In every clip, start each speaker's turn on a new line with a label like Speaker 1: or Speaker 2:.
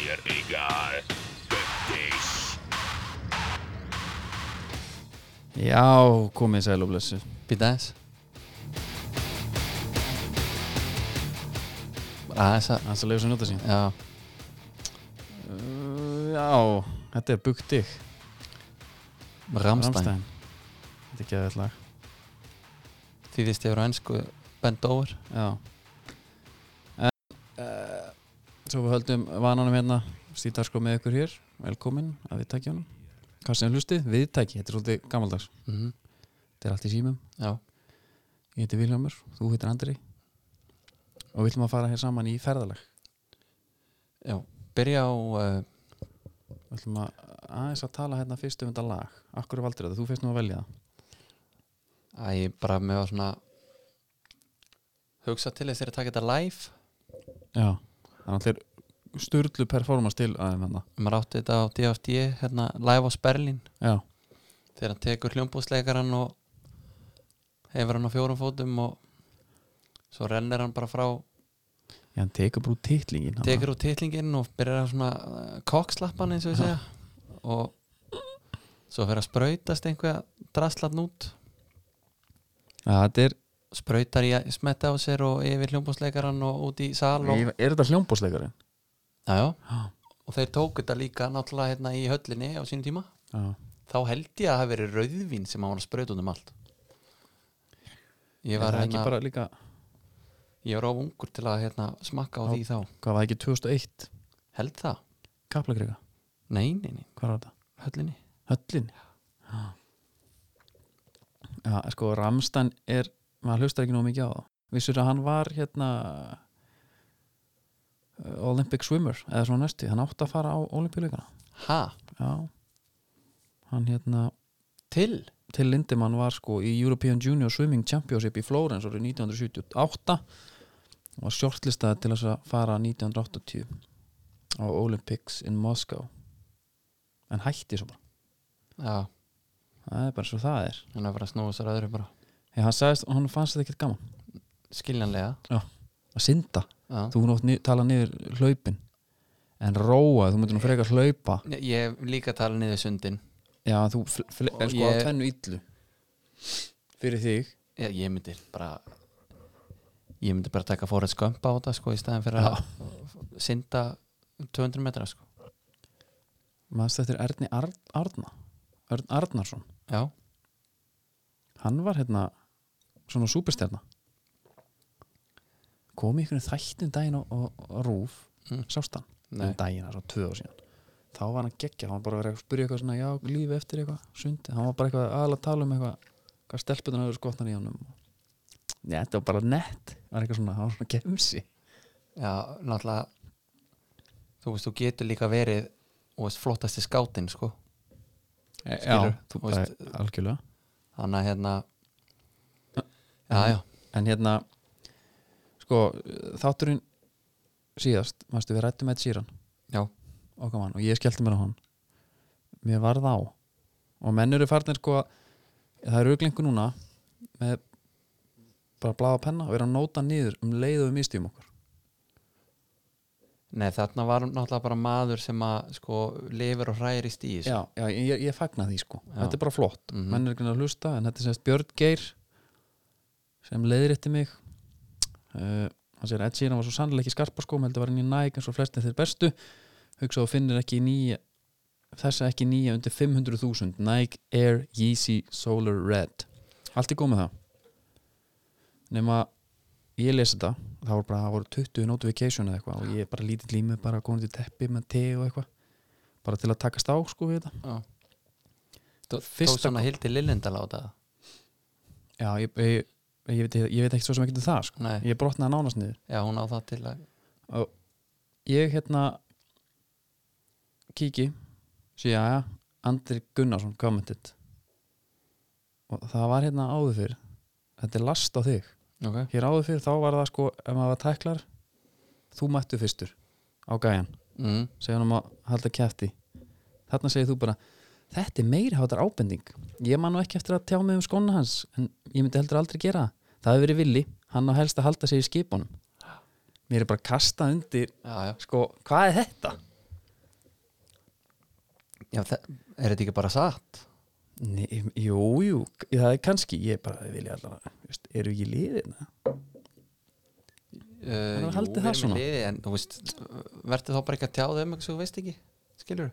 Speaker 1: egal. Fick dich.
Speaker 2: Já, komið sæl og blessu
Speaker 3: Býta aðeins Bara aðeins að
Speaker 2: Hans að leiðu sem njóta sín
Speaker 3: Já,
Speaker 2: Uh, Já, þetta er Bugdig
Speaker 3: Ramstein
Speaker 2: Þetta er ekki aðeins lag
Speaker 3: Því þýst ég voru ennsku Bend over
Speaker 2: Já en, uh, Svo við höldum vananum hérna Stýtar sko með ykkur hér Velkomin að við tækja honum Hvað sem hlustið, við tæki, þetta er svolítið gammaldags
Speaker 3: mm
Speaker 2: Þetta er allt í símum
Speaker 3: Já,
Speaker 2: Ég heiti Viljámur, þú heitir Andri Og við ætlum að fara hér saman í ferðalag
Speaker 3: já Byrja á uh,
Speaker 2: Við ætlum að aðeins að tala hérna fyrst um þetta lag Akkur valdur þetta, þú fyrst nú að velja það
Speaker 3: að ég bara með var svona hugsa til þess þegar að taka þetta live
Speaker 2: Já Þannig að þeir sturlu performance til aðeins hérna
Speaker 3: maður átti þetta á DFD hérna, live á Sperlin
Speaker 2: Já,
Speaker 3: þegar hann tekur hljómbúsleikaran og hefur hann á fjórum fótum og svo rennir hann bara frá
Speaker 2: Já, hann tekur bara út titlingin hann.
Speaker 3: tekur úr titlingin og byrjar að svona eh, kokslappan eins og ég segja og svo fyrir að sprautast einhverja draslatn út
Speaker 2: Já, þetta er
Speaker 3: sprautar í að smetta á sér og yfir hljómbúsleikaran og út í sal og,
Speaker 2: Er þetta hljómbóðsleikari?
Speaker 3: já, já.
Speaker 2: Já
Speaker 3: og þeir tóku þetta líka náttúrulega hérna í höllinni á sínum tíma
Speaker 2: Já,
Speaker 3: þá held ég að það hafi verið rauðvín sem hann var að sprauta út um allt ég var,
Speaker 2: það ekki
Speaker 3: hérna,
Speaker 2: bara líka
Speaker 3: ég var of ungur til að hérna, smakka á
Speaker 2: Já.
Speaker 3: því þá
Speaker 2: Hvað var það ekki 2001?
Speaker 3: held það?
Speaker 2: Kaplakrika,
Speaker 3: Nei, nei, nei,
Speaker 2: hvað var þetta?
Speaker 3: höllinni
Speaker 2: Höllin Já, Já sko, Ramstein er maður hlustar ekki nú mikið á það Vissur að hann var hérna uh, Olympic swimmer eða svona næstu, hann átti að fara á olimpíuleikana
Speaker 3: ha,
Speaker 2: Já Hann hérna
Speaker 3: til?
Speaker 2: til Lindemann var sko í European Junior Swimming Championship í Flórens árið 1978 og var shortlistaði til þess að fara 1980 á Olympics in Moscow en hætti svo bara
Speaker 3: já,
Speaker 2: það er bara svo það er
Speaker 3: hann er bara að snúa sér öðru bara
Speaker 2: Hei, hann sagðist, hann fannst þetta ekkert gaman
Speaker 3: skiljanlega
Speaker 2: að synda,
Speaker 3: já.
Speaker 2: þú nátt ni tala niður hlaupin en róa, þú myndir nú frekar hlaupa
Speaker 3: Ég- ég hef líka tala niður sundin
Speaker 2: já, þú fl- fl-
Speaker 3: Og
Speaker 2: er sko
Speaker 3: ég-
Speaker 2: á tvennu illu fyrir þig
Speaker 3: ég, ég myndi bara ég myndi bara taka fórið skömpa á þetta sko í staðin fyrir
Speaker 2: Já.
Speaker 3: að synda 200 metra sko
Speaker 2: maður stættir Erni Ar Arna Örn Arnarsson
Speaker 3: já,
Speaker 2: hann var hérna svona súperstjarna kom í einhvern þættum daginn og, og, og rúf
Speaker 3: Mm.
Speaker 2: sást hann,
Speaker 3: nei,
Speaker 2: um daginn það er svo tvö ár síðan þá var hann geggja, hann var bara að vera að spyrja eitthvað svona já, lífi eftir eitthvað, sundi hann var bara eitthvað aðal að tala um eitthvað hvað stelpunar hefur skotnar í honum Nei, þetta var bara nett, var eitthvað svona hann var svona kemsi
Speaker 3: já, náttúrulega þú veist, þú getur líka verið og veist, flottasti skátinn sko Skilur,
Speaker 2: þú
Speaker 3: E, þú
Speaker 2: bara
Speaker 3: veist-
Speaker 2: algjörlega
Speaker 3: þannig að hérna já, já,
Speaker 2: en hérna sko, þátturinn síðast, mástu við rættum eitt síran
Speaker 3: Já.
Speaker 2: og gaman, og ég skellti mér á hann mér varð á og menn eru farnir sko að- það eru auglengu núna með bara blaða penna og eru að nóta niður um leið og við mistjum okkur
Speaker 3: nei, þarna var náttúrulega bara maður sem að sko lifir og hræðir í stíð sko.
Speaker 2: já, já, ég, ég fagna því sko
Speaker 3: Já.
Speaker 2: þetta er bara flott,
Speaker 3: Mhm.
Speaker 2: menn eru ekki að hlusta en þetta er semst Björn Geir sem leiðir eftir mig uh, hann segir Ed Sheeran var svo sannlega ekki skarpa sko heldur var hann í Nike eins og flestin þeir bestu hugsa og finnir ekki nýja þessa ekki nýja undir 500.000 Nike Air Yeezy Solar Red allt í góð með það nema ég lesi þetta þá voru bara, það voru 20 notification eða eitthvað og ég er bara lítið límið bara komin til teppi með te og eitthvað bara til að takast á sko við þetta
Speaker 3: Já.
Speaker 2: fyrsta
Speaker 3: tók svona hildi lillindal á þetta
Speaker 2: já, ég, ég, ég, veit, ég, veit ekki svo sem ekki um það sko.
Speaker 3: nei,
Speaker 2: ég brotnaði nánast niður
Speaker 3: já, hún á það til að
Speaker 2: ég hérna kíki síðan að Andri Gunnarsson commented og það var hérna áður fyrr þetta er last á þig
Speaker 3: okay.
Speaker 2: hér áður fyrir þá var það sko ef maður var tæklar þú mættu fyrstur á gæjan
Speaker 3: mm.
Speaker 2: segja hann um að halda kæfti þarna segir þú bara þetta er meiri hátar ábending ég man nú ekki eftir að tjá mig um skóna hans en ég myndi heldur aldrei gera það það hefur verið villi, hann á helst að halda sig í skipunum mér er bara kastað undir
Speaker 3: já, já,
Speaker 2: sko, hvað er þetta?
Speaker 3: Já, þa- er þetta ekki bara satt?
Speaker 2: Nei, jú, jú, það er kannski ég bara vilja allavega, veist, eru ekki liðina
Speaker 3: Uh,
Speaker 2: Hann haldi það svona.
Speaker 3: liði, en þú veist verður þá bara ekki að tjá þeim eitthvað sem þú veist ekki skilur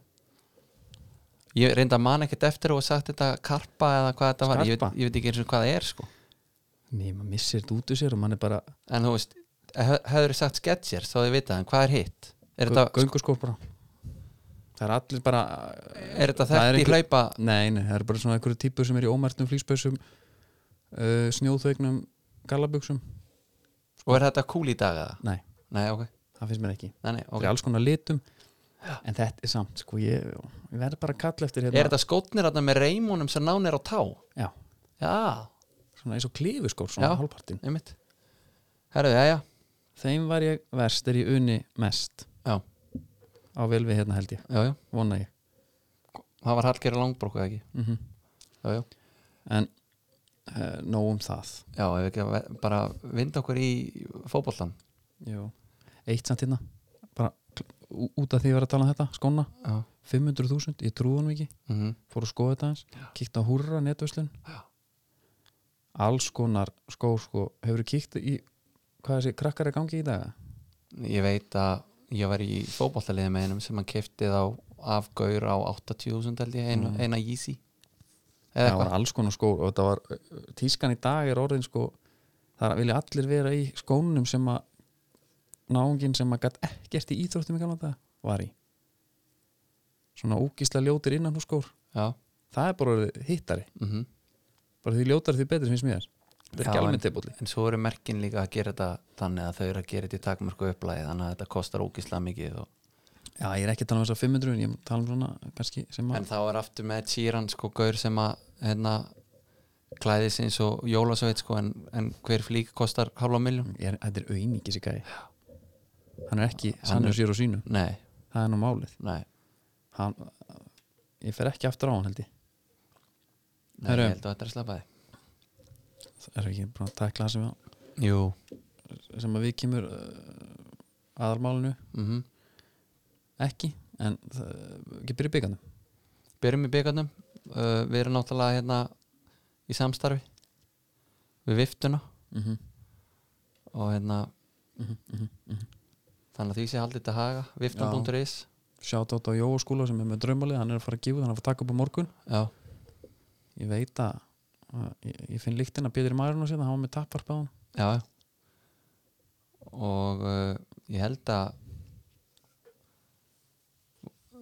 Speaker 3: ég reynda að man ekkert eftir og sagt þetta karpa eða hvað þetta var ég veit,
Speaker 2: Skarpa?
Speaker 3: ég veit ekki eins og hvað það er sko
Speaker 2: Nei, maður missir þetta út úr sér og mann er bara
Speaker 3: en þú veist, eh, hefur þið sagt sketsjér þá þið vitað, en hvað er hitt er þetta, sko-
Speaker 2: gönguskópara Það er allir bara
Speaker 3: er þetta
Speaker 2: það er
Speaker 3: þekkt í
Speaker 2: einhver-
Speaker 3: hlaupa
Speaker 2: Nei, nei, það er bara svona einhverju típur sem er í ómertum flýspössum uh, snjóþvegnum gallabuxum
Speaker 3: og er þetta cool í dag eða?
Speaker 2: Nei,
Speaker 3: nei, ok,
Speaker 2: það finnst mér ekki
Speaker 3: nei, nei,
Speaker 2: Það
Speaker 3: ok
Speaker 2: er alls konar litum En þetta er samt, sko, ég, ég verð bara að kalla eftir hérna
Speaker 3: er þetta skótnir þarna með reymónum sem nánir á tá?
Speaker 2: Já,
Speaker 3: já,
Speaker 2: svona eins og klifuskór, svona
Speaker 3: Já.
Speaker 2: hálfpartin
Speaker 3: einmitt herru, já, já,
Speaker 2: Þeim var ég verst er ég unni mest
Speaker 3: já,
Speaker 2: á vel við hérna held ég,
Speaker 3: já, já.
Speaker 2: vona ég
Speaker 3: það var Hallgerður Langbrók eða ekki,
Speaker 2: mm
Speaker 3: já, já
Speaker 2: En uh, nóg um það
Speaker 3: Já, ef við ekki að ve- bara vinda okkur í fótbollan
Speaker 2: Jú. Eitt samt hérna bara kl- ú- út af því að vera að tala um þetta, skóna
Speaker 3: Já,
Speaker 2: 500.000, ég trúi hann ekki
Speaker 3: mm
Speaker 2: fór að skoða þetta hans, kíkti á húrra netverslun
Speaker 3: Já.
Speaker 2: alls konar skó sko, hefur kíkt í hvað þessi krakkar er gangi í dag
Speaker 3: Ég veit að ég var í fótbollaliði með einum sem hann keftið á afgaur á 80.000 held ég, eina, eina Yeezy eða
Speaker 2: það var
Speaker 3: eitthvað
Speaker 2: alls konar skó og þetta var, tískan í dag er orðin sko, það vilja allir vera í skónum sem að náungin sem að gætt ekkert í íþróttum í gamla dag var í svona úkisla ljótir innan hún skór
Speaker 3: Já,
Speaker 2: það er bara orðið hittari
Speaker 3: mm
Speaker 2: bara því ljótar því betri finnst mér þetta er
Speaker 3: Já,
Speaker 2: ekki
Speaker 3: en-
Speaker 2: almennt tegbúli
Speaker 3: en svo eru merkin líka að gera þetta þannig að þau eru að gera þetta í takmörku upplæði þannig að þetta kostar ógislega mikið og...
Speaker 2: já ég er ekki að tala um þess að 500 en ég tala um svona kannski sem
Speaker 3: en
Speaker 2: að
Speaker 3: þá er aftur með Tíran sko gaur sem að hérna klæðis eins og jólasveit sko en, en hver flík kostar hálfa miljón
Speaker 2: er, þetta er auðningi sér gæði hann er ekki
Speaker 3: Hann er-
Speaker 2: sannur sér og sínum
Speaker 3: Nei,
Speaker 2: það er nú málið
Speaker 3: nei
Speaker 2: hann, ég fer ekki aftur á hann held ég
Speaker 3: Nei,
Speaker 2: Herru.
Speaker 3: ég held að þetta er að slappa þig
Speaker 2: það er ekki bara að takla það sem, að-
Speaker 3: Jú
Speaker 2: sem að við kemur uh, aðalmálinu
Speaker 3: mm
Speaker 2: ekki en það, ekki byrja byggandum
Speaker 3: Byrjum í byggarnum uh, Við erum náttúrulega hérna í samstarfi Við viftuna
Speaker 2: mm -hmm.
Speaker 3: Og hérna
Speaker 2: mm -hmm.
Speaker 3: Þannig að því sé haldið til haga Viftan.is
Speaker 2: sjátt átt á Jóa skúla sem er með draumalið hann er að fara að gefa, hann er að fara að taka upp á morgun
Speaker 3: Já,
Speaker 2: ég veit að að ég, ég finn líktinn að Pétur í maðurinn og síðan hann var með tapvarp á hann
Speaker 3: já já. Og uh, ég held að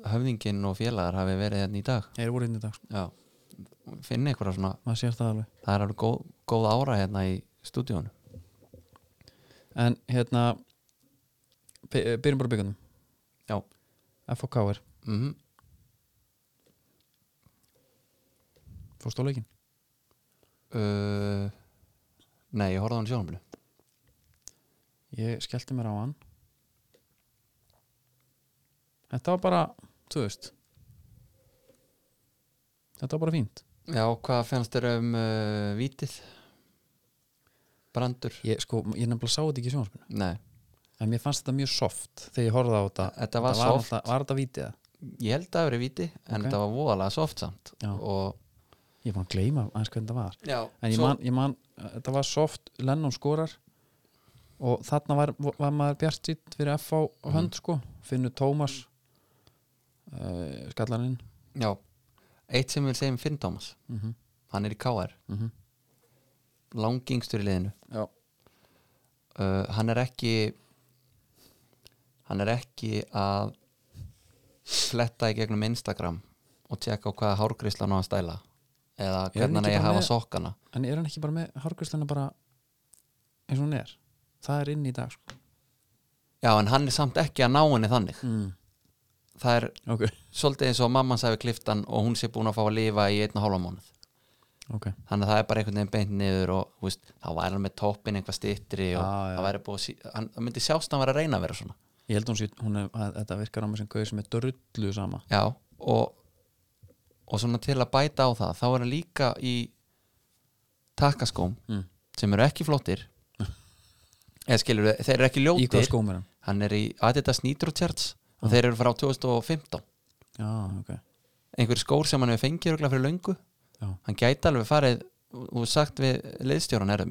Speaker 3: Höfðinginn og félagar hafi verið hérna í dag
Speaker 2: þeir voru inn í dag, sko.
Speaker 3: Já Finni einhverja svona
Speaker 2: maður sér það alveg
Speaker 3: Það er alveg góð, góð ára hérna í stúdíónu
Speaker 2: en hérna by- byrjum bara byggandum
Speaker 3: Já.
Speaker 2: FOK er,
Speaker 3: mm
Speaker 2: fórst á leikin
Speaker 3: uh, Nei, ég horfði á hann sjónumlu
Speaker 2: ég skellti mér á hann þetta var bara þú veist þetta var bara fínt
Speaker 3: Já, hvað fannst þér um uh, vítið? Brandur?
Speaker 2: ég, sko, ég nefnilega sá þetta ekki í sjónvarpinu
Speaker 3: Nei,
Speaker 2: en mér fannst þetta mjög soft þegar ég horfði á þetta
Speaker 3: þetta var
Speaker 2: var,
Speaker 3: soft
Speaker 2: alltaf, var þetta vítið
Speaker 3: Ég held að það verið víti, en
Speaker 2: Ok.
Speaker 3: þetta var voðalega soft samt
Speaker 2: Já.
Speaker 3: og,
Speaker 2: ég fann að gleyma aðeins hvernig þetta var
Speaker 3: Já,
Speaker 2: en ég man, ég man uh, þetta var soft, Lennon skorar og þarna var, var maður bjart sýtt fyrir FH á hönd sko finnur Tómas uh, skallaninn
Speaker 3: já Eitt sem við segjum Finn Thomas
Speaker 2: mm -hmm.
Speaker 3: Hann er í KR,
Speaker 2: Mm -hmm.
Speaker 3: langingstur í liðinu
Speaker 2: já,
Speaker 3: uh, Hann er ekki Hann er ekki að fletta í gegnum Instagram og tjekka á hvaða hárgrislan á að stæla eða
Speaker 2: Er hann
Speaker 3: hvernig hann
Speaker 2: ekki
Speaker 3: eigi að
Speaker 2: bara
Speaker 3: hafa
Speaker 2: með-
Speaker 3: sokkana
Speaker 2: en er hann ekki bara með hárgrisluna bara eins og hún er það er inn í dag sko
Speaker 3: Já, en hann er samt ekki að ná henni þannig
Speaker 2: mm.
Speaker 3: Það er
Speaker 2: ok,
Speaker 3: svolítið eins og mamman sæfi kliftan og hún sé búin að fá að lifa í einn og hálfa mánuð
Speaker 2: ok
Speaker 3: þannig að það er bara einhvern veginn beint niður og þú veist, þá væri hann með toppin einhvað stittri og
Speaker 2: Já, já.
Speaker 3: það væri búið að sí, hann, það myndi sjást að hann væri að reyna að vera svona
Speaker 2: ég held hún, sé, hún er, að þetta virkar á mig sem gauð sem er drullu sama
Speaker 3: já, og og svona til að bæta á það þá er hann líka í takkaskóm
Speaker 2: mm.
Speaker 3: sem eru ekki flottir eða skilur þeir eru ekki
Speaker 2: í hvað
Speaker 3: ljótir
Speaker 2: skóm er hann
Speaker 3: hann er í Adidas Nitro Church og þeir eru frá 2015
Speaker 2: já, ok
Speaker 3: einhver skór sem hann hefur fengið örugglega fyrir löngu
Speaker 2: Já.
Speaker 3: hann gæti alveg farið og sagt við liðstjóran er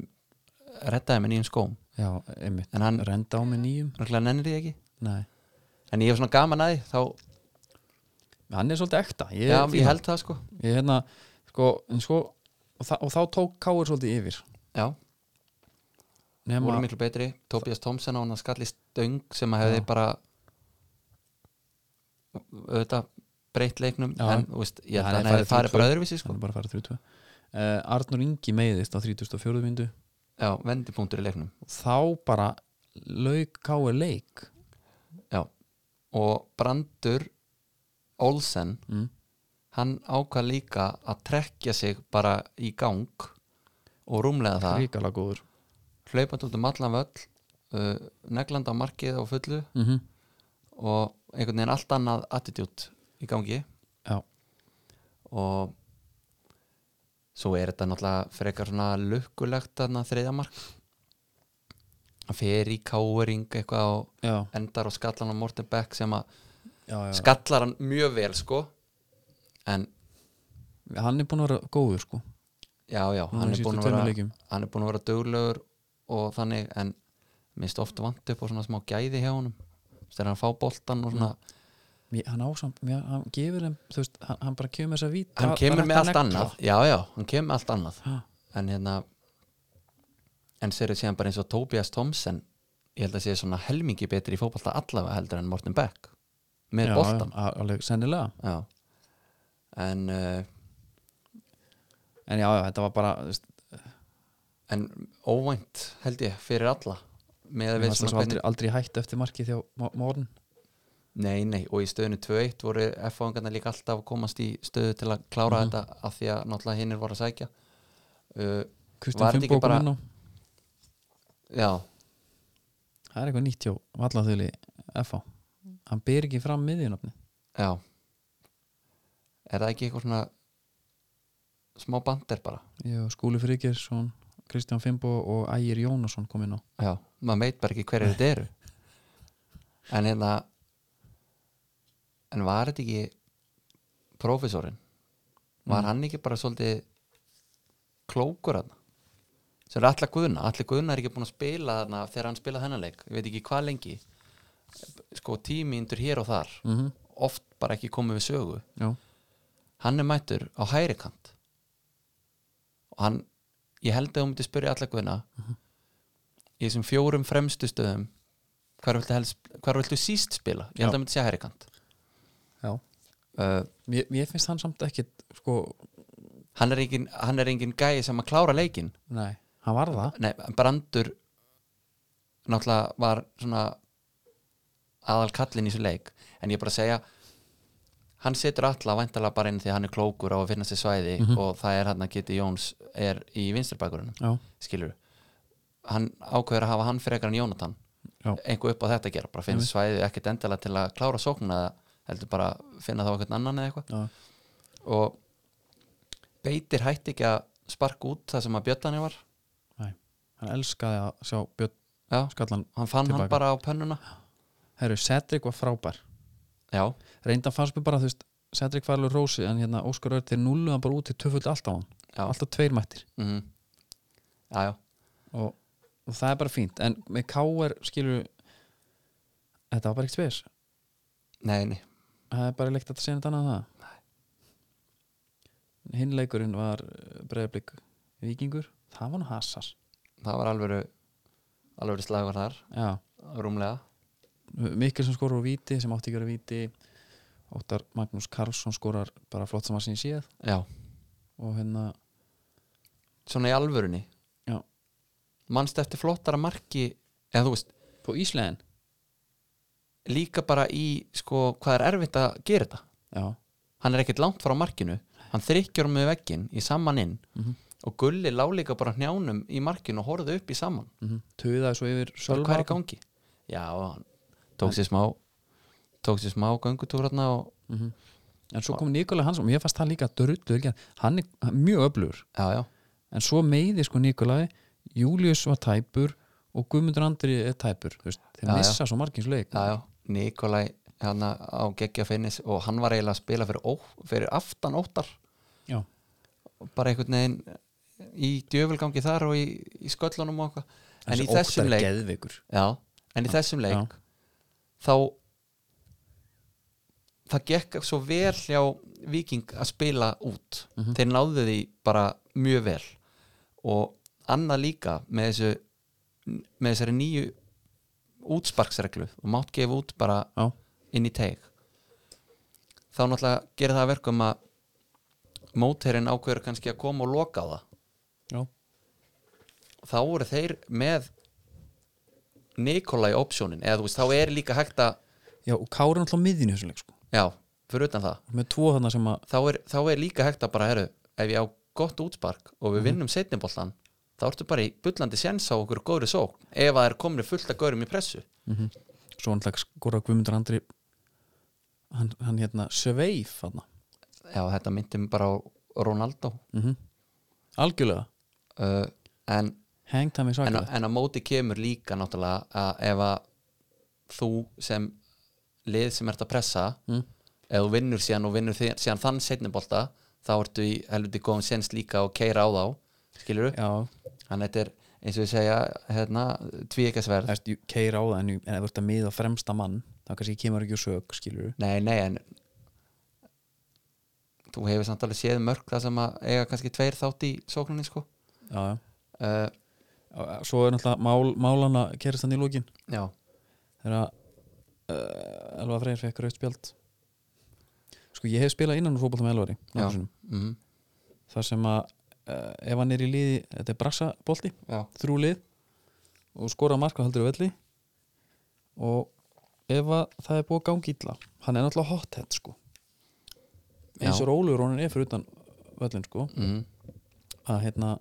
Speaker 3: rettaði með nýjum skóm
Speaker 2: já, einmitt
Speaker 3: en hann
Speaker 2: Renda á með nýjum
Speaker 3: örugglega nennir því ekki
Speaker 2: Nei.
Speaker 3: en ég hef svona gaman að því þá,
Speaker 2: Hann er svolítið ekta Ég,
Speaker 3: já,
Speaker 2: fíla
Speaker 3: ég
Speaker 2: hann.
Speaker 3: held það sko
Speaker 2: ég hérna sko, en sko og, þa og þá tók Káur svolítið yfir
Speaker 3: já, voru
Speaker 2: nema,
Speaker 3: miklu betri Tobias Thompson á hann að skalli stöng sem að hefði
Speaker 2: Já.
Speaker 3: bara auðvitað breytt leiknum
Speaker 2: Já.
Speaker 3: en þú veist, ég
Speaker 2: Já,
Speaker 3: held
Speaker 2: hann
Speaker 3: að
Speaker 2: hefði
Speaker 3: hann hefði
Speaker 2: farið
Speaker 3: farið
Speaker 2: 3-2.
Speaker 3: bara öðruvísi sko.
Speaker 2: hann er bara að fara 32 uh, Arnur Ingi meiðist á 34. myndu
Speaker 3: já, vendipunktur í leiknum
Speaker 2: þá bara lauk Káur leik
Speaker 3: og Brandur Olsen,
Speaker 2: mm.
Speaker 3: hann ákvað líka að trekja sig bara í gang og rúmlega það
Speaker 2: ríkala góður
Speaker 3: hlaupandi út um allan völl uh, neglanda á markið á fullu
Speaker 2: mm
Speaker 3: og einhvern veginn allt annað attitude í gangi
Speaker 2: Já.
Speaker 3: og svo er þetta náttúrulega frekar svona lukkulegt þarna þriðja mark hann fer í káering eitthvað og
Speaker 2: já,
Speaker 3: endar og skallar hann á Morten Beck sem að
Speaker 2: já, já.
Speaker 3: skallar hann mjög vel sko en
Speaker 2: hann er búin að vera góður sko
Speaker 3: já já,
Speaker 2: Núna
Speaker 3: hann
Speaker 2: í
Speaker 3: er,
Speaker 2: síðustu
Speaker 3: búinn að
Speaker 2: tveimur
Speaker 3: vera,
Speaker 2: leikjum.
Speaker 3: hann er búin að vera duglegur og þannig en minnst oft vant upp og svona smá gæði hjá honum þegar hann fá boltan og svona
Speaker 2: Mér- hann ásam, mér, hann gefur þeim þú veist, hann, hann bara kemur þess að víta
Speaker 3: hann kemur með allt annað já, já, hann kemur með allt annað
Speaker 2: Ha.
Speaker 3: en hérna en sér er síðan bara eins og Tobias Thompson ég held að sé svona helmingi betri í fótbolta allavega heldur en Morten Beck með boltan
Speaker 2: já, alveg, sennilega
Speaker 3: já. en uh,
Speaker 2: en já, já, þetta var bara þú veist,
Speaker 3: en óvænt held ég fyrir alla með að
Speaker 2: hann
Speaker 3: við
Speaker 2: var
Speaker 3: svona
Speaker 2: svo aldrei,
Speaker 3: hvernig
Speaker 2: aldrei hætt eftir markið þjá morgun
Speaker 3: nei, nei, og í stöðinu 2-1 voru F-fóðingarna líka alltaf að komast í stöðu til að
Speaker 2: Mhm.
Speaker 3: klára þetta af því að náttúrulega hinnir voru að sækja uh, Var
Speaker 2: Kristján
Speaker 3: þetta ekki
Speaker 2: Finnbók
Speaker 3: bara-
Speaker 2: kom inn á
Speaker 3: já,
Speaker 2: Það er eitthvað nýtt hjá vallathöli FH Hann ber ekki fram miðjunafni
Speaker 3: Já Er það ekki eitthvað svona smá bander bara?
Speaker 2: Ég og Skúli Frigersson, Kristján Fimbo og Ægir Jónasson kom inn á
Speaker 3: Já, maður veit bara ekki hverju þetta eru En hérna En var þetta ekki prófessorinn? Var hann ekki bara svolítið klókur hann? Sem er allar guðna Allar guðna er ekki búin að spila þarna þegar hann spilaði þennan leik Ég veit ekki hvað lengi Sko tímyndur hér og þar
Speaker 2: mm -hmm.
Speaker 3: Oft bara ekki komið við sögu
Speaker 2: Já,
Speaker 3: hann er mættur á hægri kant og hann ég held að hún myndi spyrja alla guðina í þessum fjórum fremstu stöðum hvar viltu, helst, hvar viltu síst spila ég held að
Speaker 2: Já.
Speaker 3: hann myndi segja hægri kant
Speaker 2: já
Speaker 3: uh,
Speaker 2: Mér, mér finnst hann samt ekkit, sko,
Speaker 3: hann, er engin, hann er engin gæi sem að klára leikin
Speaker 2: nei Hann var það
Speaker 3: Nei, Brandur náttúrulega var svona aðal kallin í þessu leik en ég er bara að segja hann setur alla væntalega bara inn því að hann er klókur á að finna sér svæði og það er hann að Kitty Jóns er í vinsturbækurinn
Speaker 2: Já,
Speaker 3: skilur hann ákveður að hafa hann frekar en Jónatan
Speaker 2: Já.
Speaker 3: einhver upp á þetta að gera, bara finnst svæðið ekkert endilega til að klára sóknuna eða heldur bara finna þá eitthvað annan eða eitthvað
Speaker 2: já,
Speaker 3: og beitir hætti ekki að sparka út það sem að Bjötani var
Speaker 2: nei Hann elskaði að sjá Björn
Speaker 3: já,
Speaker 2: Skallan
Speaker 3: hann fann
Speaker 2: Tilbaka.
Speaker 3: hann bara á pönnuna
Speaker 2: Herru, Cedric var frábær
Speaker 3: já,
Speaker 2: Reyndan fannst mér bara, þú veist, Cedric var alveg rósi En hérna Óskar Örn til nullu, hann bara út til töfullt allt á hann
Speaker 3: Já.
Speaker 2: Alltaf tveir mættir
Speaker 3: mhm já, já,
Speaker 2: og, og það er bara fínt en með K.R. skilur þetta var bara ekkert spes
Speaker 3: nei, nei
Speaker 2: það er bara leikt að segja þetta annað en það hinn leikurinn var breyðablík vikingur, það var nú hassar
Speaker 3: það var alveg alveg slagur þar,
Speaker 2: já,
Speaker 3: rúmlega
Speaker 2: Mikkel sem skorur á viti sem átti ekki að vera viti Óttar Magnús Karlsson skorar bara flott sem að sinni séð
Speaker 3: já,
Speaker 2: og hérna,
Speaker 3: svona í alvörunni
Speaker 2: Já.
Speaker 3: manst eftir flottara marki eða þú veist,
Speaker 2: på Íslegin
Speaker 3: líka bara í sko, hvað er erfitt að gera þetta
Speaker 2: já,
Speaker 3: hann er ekkert langt frá markinu hann þrykkjur með veggin í saman inn
Speaker 2: Mhm.
Speaker 3: og Gulli lá líka bara njánum í markinu og horfði upp í saman
Speaker 2: mm töðaði svo yfir
Speaker 3: mhm. Bara, hvað er í
Speaker 2: Sölva
Speaker 3: gangi? Já, hann tók sér smá tók sér smá göngutúrarna og
Speaker 2: en svo kom Nikola Hansson, mér fannst hann líka drullu, hann er hann er mjög öflugur
Speaker 3: já, já,
Speaker 2: en svo meiði sko Nikolai Július var tæpur og Guðmundur Andri er tæpur þú veist, þeir
Speaker 3: Já, já.
Speaker 2: missa svo margins leik
Speaker 3: já, já Nikolai hérna á geggja finnis og hann var eiginlega að spila fyrir, ó, fyrir aftan óttar
Speaker 2: já,
Speaker 3: bara einhvern veginn í djöfulgangi þar og í, í sköllunum og eitthvað en í þessum leik
Speaker 2: geðveikur.
Speaker 3: já, en í þessum leik
Speaker 2: Já.
Speaker 3: þá það gekk svo vel hjá Viking að spila út þeir náðu því bara mjög vel og annað líka með þessu með þessari nýju útsparksreglu og mátt gefa út bara
Speaker 2: já,
Speaker 3: inn í teig þá náttúrulega gerir það að verkum að móterinn ákveður kannski að koma og loka á það
Speaker 2: já,
Speaker 3: þá voru þeir með Nikolai optionin eða þú veist, þá er líka hægt að
Speaker 2: já, og Kári er náttúrulega á miðjunni í þessum leik sko.
Speaker 3: já, fyrir utan það
Speaker 2: með tvo þarna sem að
Speaker 3: þá er, þá er líka hægt að bara heru, ef ég á gott útspark og við vinnum setniboltan þá ertu bara í bullandi séns á okkur góðri sók ef að það er komni fullt að góðrum í pressu
Speaker 2: mm svo hann lag skora Guðmundur Andri hann, hann hérna sveif hann
Speaker 3: já, þetta myndi mig bara á Ronaldo
Speaker 2: mm algjörlega
Speaker 3: uh, en,
Speaker 2: hengt hann við
Speaker 3: en,
Speaker 2: svakalega
Speaker 3: en að móti kemur líka náttúrulega að ef að þú sem lið sem ert að pressa
Speaker 2: Mm.
Speaker 3: ef þú vinnur síðan og vinnur þi- síðan þann setnibolta þá ertu í helviti góðum séns líka og keira á þá skilur
Speaker 2: já,
Speaker 3: þannig að þetta er eins og ég segja hérna, tvíekasverð
Speaker 2: það er keir á það en, en ef þú ert að miða á fremsta mann þá kannski kemur ekki úr sög skilur
Speaker 3: Nei, nei, en þú hefur samt alveg séð mörg það sem að eiga kannski tveir þátt í sókninni sko
Speaker 2: já, já.
Speaker 3: uh,
Speaker 2: svo er náttúrulega mál, málana kerist hann í lókin
Speaker 3: Já,
Speaker 2: þegar að uh, Elva Freyr fekk rautt spjald sko ég hef spilað innan úr fótbolta með Elvari
Speaker 3: já,
Speaker 2: nokkrum sinnum.
Speaker 3: mm,
Speaker 2: þar sem að uh, ef hann er í liði, þetta er brassabolti
Speaker 3: já,
Speaker 2: þrjú lið og skora marka heldur á velli og ef að það er búið að gangi illa hann er náttúrulega hothead sko eins og rólegur hann er fyrir utan völlin sko
Speaker 3: mm,
Speaker 2: að hérna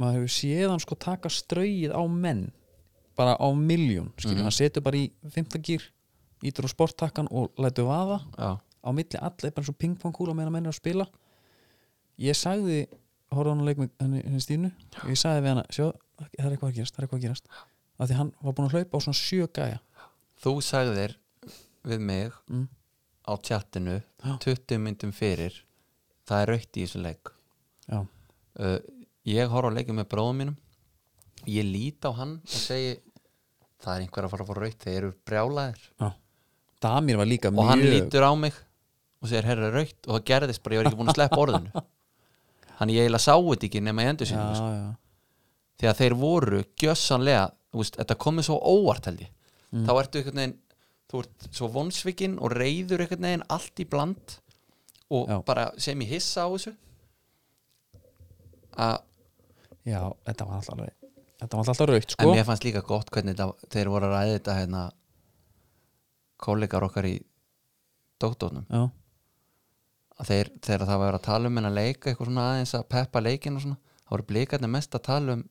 Speaker 2: maður hefur séð hann sko taka strauið á menn bara á miljón skilur, hann setur bara í fimmtagýr ítur á sporttakkan og lætur vaða
Speaker 3: já,
Speaker 2: á milli allir, bara eins og pingpongkúla meðan menn er að spila ég sagði horfði á hann að leik með henni, henni Stínu og ég sagði við hana, sjá, það er eitthvað að gerast það er eitthvað að gerast, af því hann var búin að hlaupa á svona sjö gæja
Speaker 3: þú sagðir við mig
Speaker 2: Mm.
Speaker 3: á tjattinu
Speaker 2: Já.
Speaker 3: 20 myndum fyrir það er raukt í þessum leik
Speaker 2: já,
Speaker 3: uh, Ég horf á leikum með bróðum mínum ég lít á hann og segi það er einhver að fara að fá raukt þeir eru brjálaðir
Speaker 2: já Damir var líka
Speaker 3: og hann
Speaker 2: mjög
Speaker 3: lítur á mig og segir herra raukt og það gerðist bara, ég var ekki búin að sleppa orðinu þannig ég eiginlega sá þetta ekki nema í endur
Speaker 2: já,
Speaker 3: sinni
Speaker 2: já,
Speaker 3: því að þeir voru gjössanlega þú veist, þetta komið svo óvart held ég
Speaker 2: Mm.
Speaker 3: þá ertu einhvern veginn þú ert svo vonsvikinn og reyður einhvern veginn allt í bland og
Speaker 2: Já.
Speaker 3: bara sem ég hissa á þessu að
Speaker 2: já, þetta var alltaf alveg þetta var alltaf raukt
Speaker 3: En
Speaker 2: sko
Speaker 3: mér fannst líka gott hvernig þetta, þeir voru að ræða þetta hérna kollegar okkar í dóttónum
Speaker 2: já,
Speaker 3: að þeir, þegar það var að tala um en að leika eitthvað svona aðeins að peppa leikin og svona þá voru blikarnir mest að tala um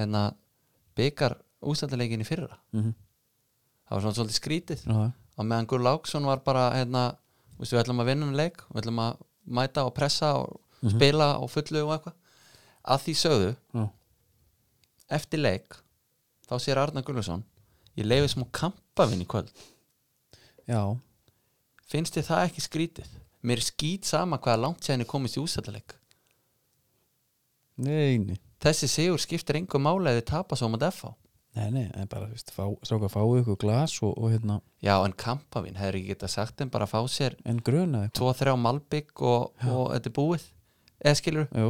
Speaker 3: hérna byggar ústændaleikin í fyrra
Speaker 2: mm
Speaker 3: það var svona svolítið skrítið
Speaker 2: já,
Speaker 3: á meðan Gull Láksson var bara hérna, veistu, við ætlum að vinna um leik við ætlum að mæta og pressa og spila og fullu og eitthvað að því sögðu
Speaker 2: já,
Speaker 3: eftir leik þá sér Arna Gullarsson ég leiði smá kampavinn í kvöld
Speaker 2: já,
Speaker 3: finnst þið það ekki skrítið mér er skýt sama hvaða langt séðan er komist í úsætaleik
Speaker 2: nei, nei
Speaker 3: þessi sigur skiptir engum máli eða þið tapa svo mútið FH
Speaker 2: nei, nei, en bara, þú veist, fá, stráka fáið ykkur glas og, og hérna,
Speaker 3: já en kampavinn hefur ekki getað sagt en bara að fá sér
Speaker 2: en gruna eitthvað
Speaker 3: 2-3 malbygg og, og þetta er búið eða skilur
Speaker 2: já,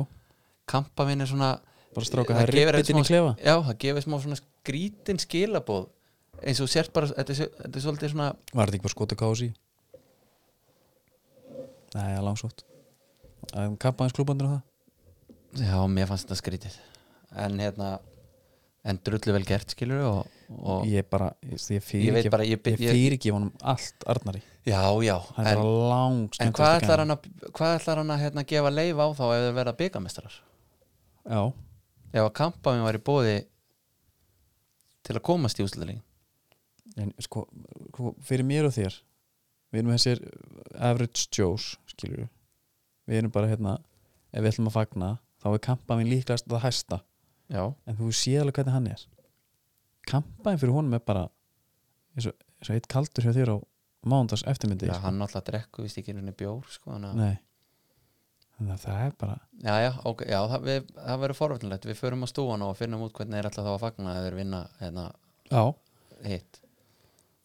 Speaker 3: kampavinn er svona
Speaker 2: bara stráka, það er
Speaker 3: gefur
Speaker 2: rippitin í
Speaker 3: smá-
Speaker 2: klefa
Speaker 3: já það gefur smá svona skrítin skilabóð eins og þú sért bara þetta er, svo- þetta er svolítið svona
Speaker 2: Var þetta ekki bara skotið kási? Nei, ja, langsótt Kappaðins klúbandur á það?
Speaker 3: Já, mér fannst þetta skrítið En hérna En drullu vel gert skilur og, og
Speaker 2: Ég bara, ég, ég
Speaker 3: Ég
Speaker 2: fyrir
Speaker 3: veit
Speaker 2: ekki
Speaker 3: bara, ég-
Speaker 2: Ég
Speaker 3: ég-
Speaker 2: fyrir ekki honum allt Arnari
Speaker 3: Já, já
Speaker 2: Hann er
Speaker 3: En,
Speaker 2: bara langt
Speaker 3: en hvað ætlar hann að Hvað ætlar hann að hérna, gefa leif á þá Ef þau verða byggamestrar
Speaker 2: Já,
Speaker 3: Ef að kampa minn var í bóði Til að komast í úsleðling
Speaker 2: en sko sko, Fyrir mér og þér Við erum þessir average Joes Skilur við erum bara hérna Ef við ætlum að fagna Þá er kampaðin líklegast að hæsta
Speaker 3: Já
Speaker 2: En þú sé alveg hvernig hann er Kampaðin fyrir honum er bara eins og Svo eitt kaldur hjá þér á mándags eftirmyndi sko.
Speaker 3: Já, hann náttúrulega drekku, vist ekki henni bjór sko, þannig að-
Speaker 2: Nei Þannig að það er bara
Speaker 3: Já, já, ok, já, það, við- það verður forvöldinlegt Við förum að stúan og finnum út hvernig er alltaf þá að fagna eða þeir vinna hérna,
Speaker 2: Já
Speaker 3: hitt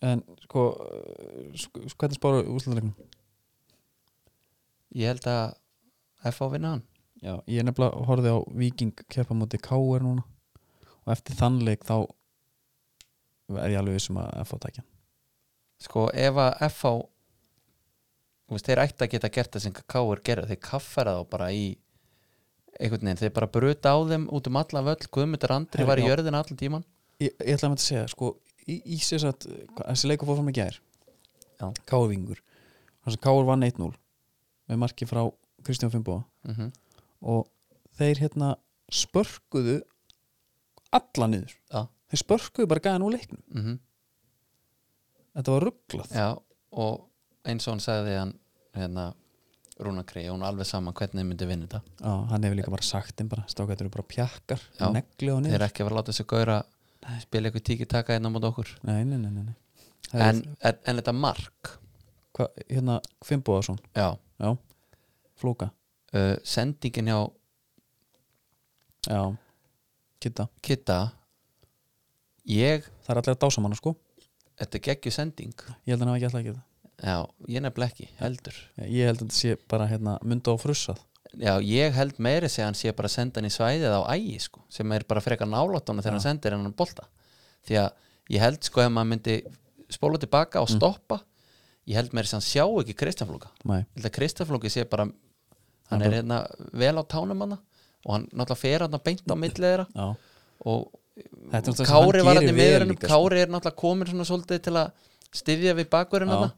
Speaker 2: En sko, uh, sk- hvernig spáru úrslutalegnum?
Speaker 3: Ég held að F.A. vinna hann
Speaker 2: Já, ég nefnilega horfði á Viking keppa á móti KR núna og eftir þann leik þá er ég alveg vissum að F.A. tækja
Speaker 3: Sko, ef að F.A. Þú veist, þeir ætti að geta gert það sem K.R. gerðu Þeir kaffera þá bara í einhvern veginn, þeir bara bruta á þeim út um allan völl, Guðmundur Andri
Speaker 2: Herri,
Speaker 3: var í
Speaker 2: já.
Speaker 3: jörðin allan tíman
Speaker 2: Ég, ég ætla að maður að segja, sko í, í sér satt, þessi leiku fór fram í gær
Speaker 3: Já.
Speaker 2: KR Vingur þannig að KR vann 1-0 með marki frá Kristján Fimboa
Speaker 3: mm
Speaker 2: og þeir hérna spörkuðu alla niður
Speaker 3: Já.
Speaker 2: þeir spörkuðu bara gæðan úr leiknum
Speaker 3: -hmm.
Speaker 2: þetta var rugglað
Speaker 3: Já, og eins og hann sagði hann hérna, Rúna Krei, hún alveg saman hvernig þið myndi vinna þetta
Speaker 2: Já, hann hefur líka bara sagt þeim bara stráka þetta eru bara pjakkar,
Speaker 3: Já.
Speaker 2: negli og
Speaker 3: Þeir
Speaker 2: niður
Speaker 3: eru ekki að vera að láta þessu gauðra spila eitthvað tíki taka einn á mót okkur
Speaker 2: nei, nei, nei, nei, nei. Það
Speaker 3: en,
Speaker 2: er,
Speaker 3: en, en þetta mark
Speaker 2: hva, hérna Fimboðarsson,
Speaker 3: já,
Speaker 2: já Flóka,
Speaker 3: uh, sendingin hjá
Speaker 2: já Kitta,
Speaker 3: Kitta ég,
Speaker 2: það er allir að dása manna sko
Speaker 3: þetta er geggju sending
Speaker 2: ég held að hann hafa ekki alltaf að geta
Speaker 3: já, ég nefnilega ekki, heldur
Speaker 2: ég held að þetta sé bara hérna mynda á frussað
Speaker 3: já, ég held meiri sig að hann sé bara að senda hann í svæðið á ægi sko, sem er bara frekar nálátt honum þegar hann sendir hann bolta því að ég held sko ef maður myndi spóla tilbaka og
Speaker 2: Mm.
Speaker 3: stoppa ég held meiri sig að hann sjá ekki Kristjánflóka
Speaker 2: nei,
Speaker 3: ég held að Kristjánflóki sé bara
Speaker 2: Hann
Speaker 3: hann er hérna vel á tánum hann og hann náttúrulega fer hann beint á milli þeirra
Speaker 2: já
Speaker 3: og
Speaker 2: Þetta er náttúrulega sem
Speaker 3: Kári
Speaker 2: hann gerir
Speaker 3: var hann í
Speaker 2: vel
Speaker 3: miðurinn
Speaker 2: líka, sko.
Speaker 3: Kári er náttúrulega komin svona svolítið til að styðja við bakverðin
Speaker 2: Já.
Speaker 3: hann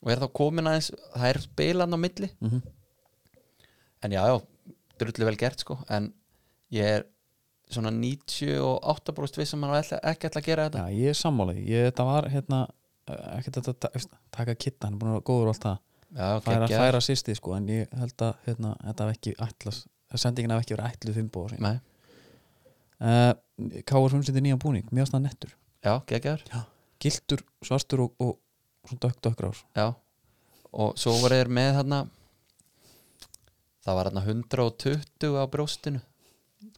Speaker 3: og er þá komin aðeins, það er spila hann á milli
Speaker 2: Mhm.
Speaker 3: en já, já, drullu vel gert sko en ég er svona 98 brúst við sem hann ætla, ekki ætla um að gera þetta
Speaker 2: Já, ég er sammálaði, ég, þetta var hérna eh, ekkert að ta- ta- taka kitta hann er búin að vera góður og allt það
Speaker 3: já,
Speaker 2: færa,
Speaker 3: geggjaður.
Speaker 2: færa sýsti sko, en ég held að hérna, þetta hef ekki ætlas sendingin hef ekki verið ætluð fimmbóð uh,
Speaker 3: Nei,
Speaker 2: Eh, K.R. 5 sinni nýjan búning, mjög snað nettur
Speaker 3: já, geggjaður
Speaker 2: giltur, svartur og, og svona dökk dökkur ár
Speaker 3: já. og svo voru þeir með þarna það var þarna 120 á brjóstinu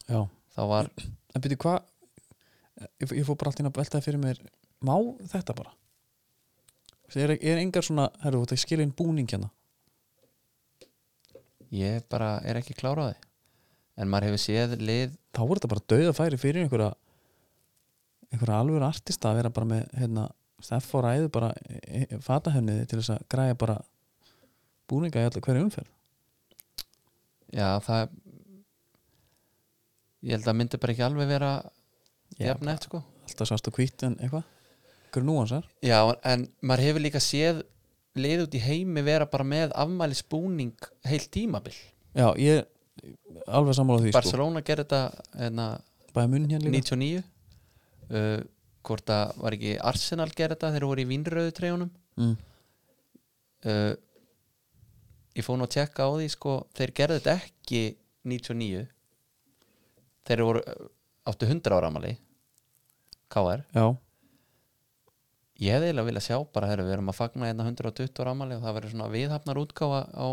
Speaker 2: Já.
Speaker 3: það var,
Speaker 2: en byrju hvað ég, fó- ég fór bara allt inn að veltaði fyrir mér má þetta bara Þessi, er, er engar svona, herru, þú ert að skilja inn búning hérna
Speaker 3: ég bara er ekki kláraði en maður hefur séð lið
Speaker 2: þá voru þetta bara dauða færi fyrir einhverja einhverja alvöru artista að vera bara með hérna, steff og ræðu bara e- e- fatahöfniði til þess að græja bara búninga í allir hverju umferð
Speaker 3: Já, það ég held að myndi bara ekki alveg vera
Speaker 2: Já,
Speaker 3: jafnett sko
Speaker 2: alltaf svart og hvít en eitthvað einhverju núansar
Speaker 3: Já, en maður hefur líka séð lið út í heimi vera bara með afmælisbúning heilt tímabil
Speaker 2: já, ég er alveg sammála því sko.
Speaker 3: Barcelona gerði þetta hérna,
Speaker 2: bæði munn hérna líka
Speaker 3: 99 uh, hvort að var ekki Arsenal gerði þetta þegar voru í vinnröðu treyjunum
Speaker 2: mm.
Speaker 3: uh, ég fór nú að tjekka á því sko, þeir gerðu þetta ekki 99 þeir voru uh, áttu 100 ára amali KR
Speaker 2: já,
Speaker 3: ég hefði eiginlega viljað sjá bara þegar við erum að fagna hérna 120 ára amali og það verður svona viðhafnar útgáfa á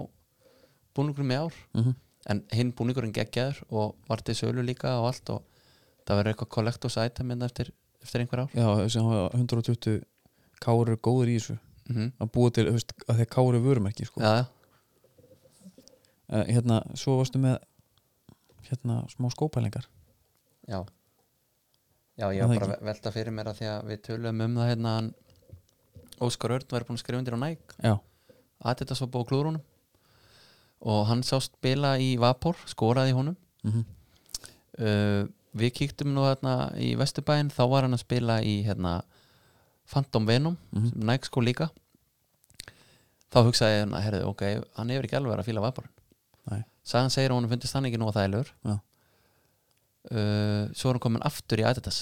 Speaker 3: búningurum í ár
Speaker 2: mm
Speaker 3: en hinn búningurinn geggjaður og var til sölu líka og allt og það verður eitthvað collectors item hérna eftir, eftir einhver ár
Speaker 2: já þessi hafa 120 káur eru góður í þessu
Speaker 3: mm -hmm.
Speaker 2: að búa til, þú veist, að því að káur eru vörumerki sko.
Speaker 3: ja,
Speaker 2: Eh, hérna, svo varstu með hérna, smá skópælingar
Speaker 3: já já, ég
Speaker 2: Er
Speaker 3: var
Speaker 2: það
Speaker 3: bara að velta fyrir mér að því að við töluðum um það hérna að hann Óskar Örn var búin að skrifa undir á næk
Speaker 2: já,
Speaker 3: Adidas var búið á klúrunum og hann sá spila í Vapor skoraði í honum
Speaker 2: mm
Speaker 3: uh, við kíktum nú hérna í Vesturbæin þá var hann að spila í hérna Phantom Venom
Speaker 2: Mhm.
Speaker 3: sem Nike sko líka þá hugsaði ég hérna, herðu, ok, hann hefur ekki alveg verið að fíla Vaporinn
Speaker 2: Nei.
Speaker 3: Sagan segir að honum fundist hann ekki nú að það er lögur
Speaker 2: Já.
Speaker 3: uh, svo er hann komin aftur í Adidas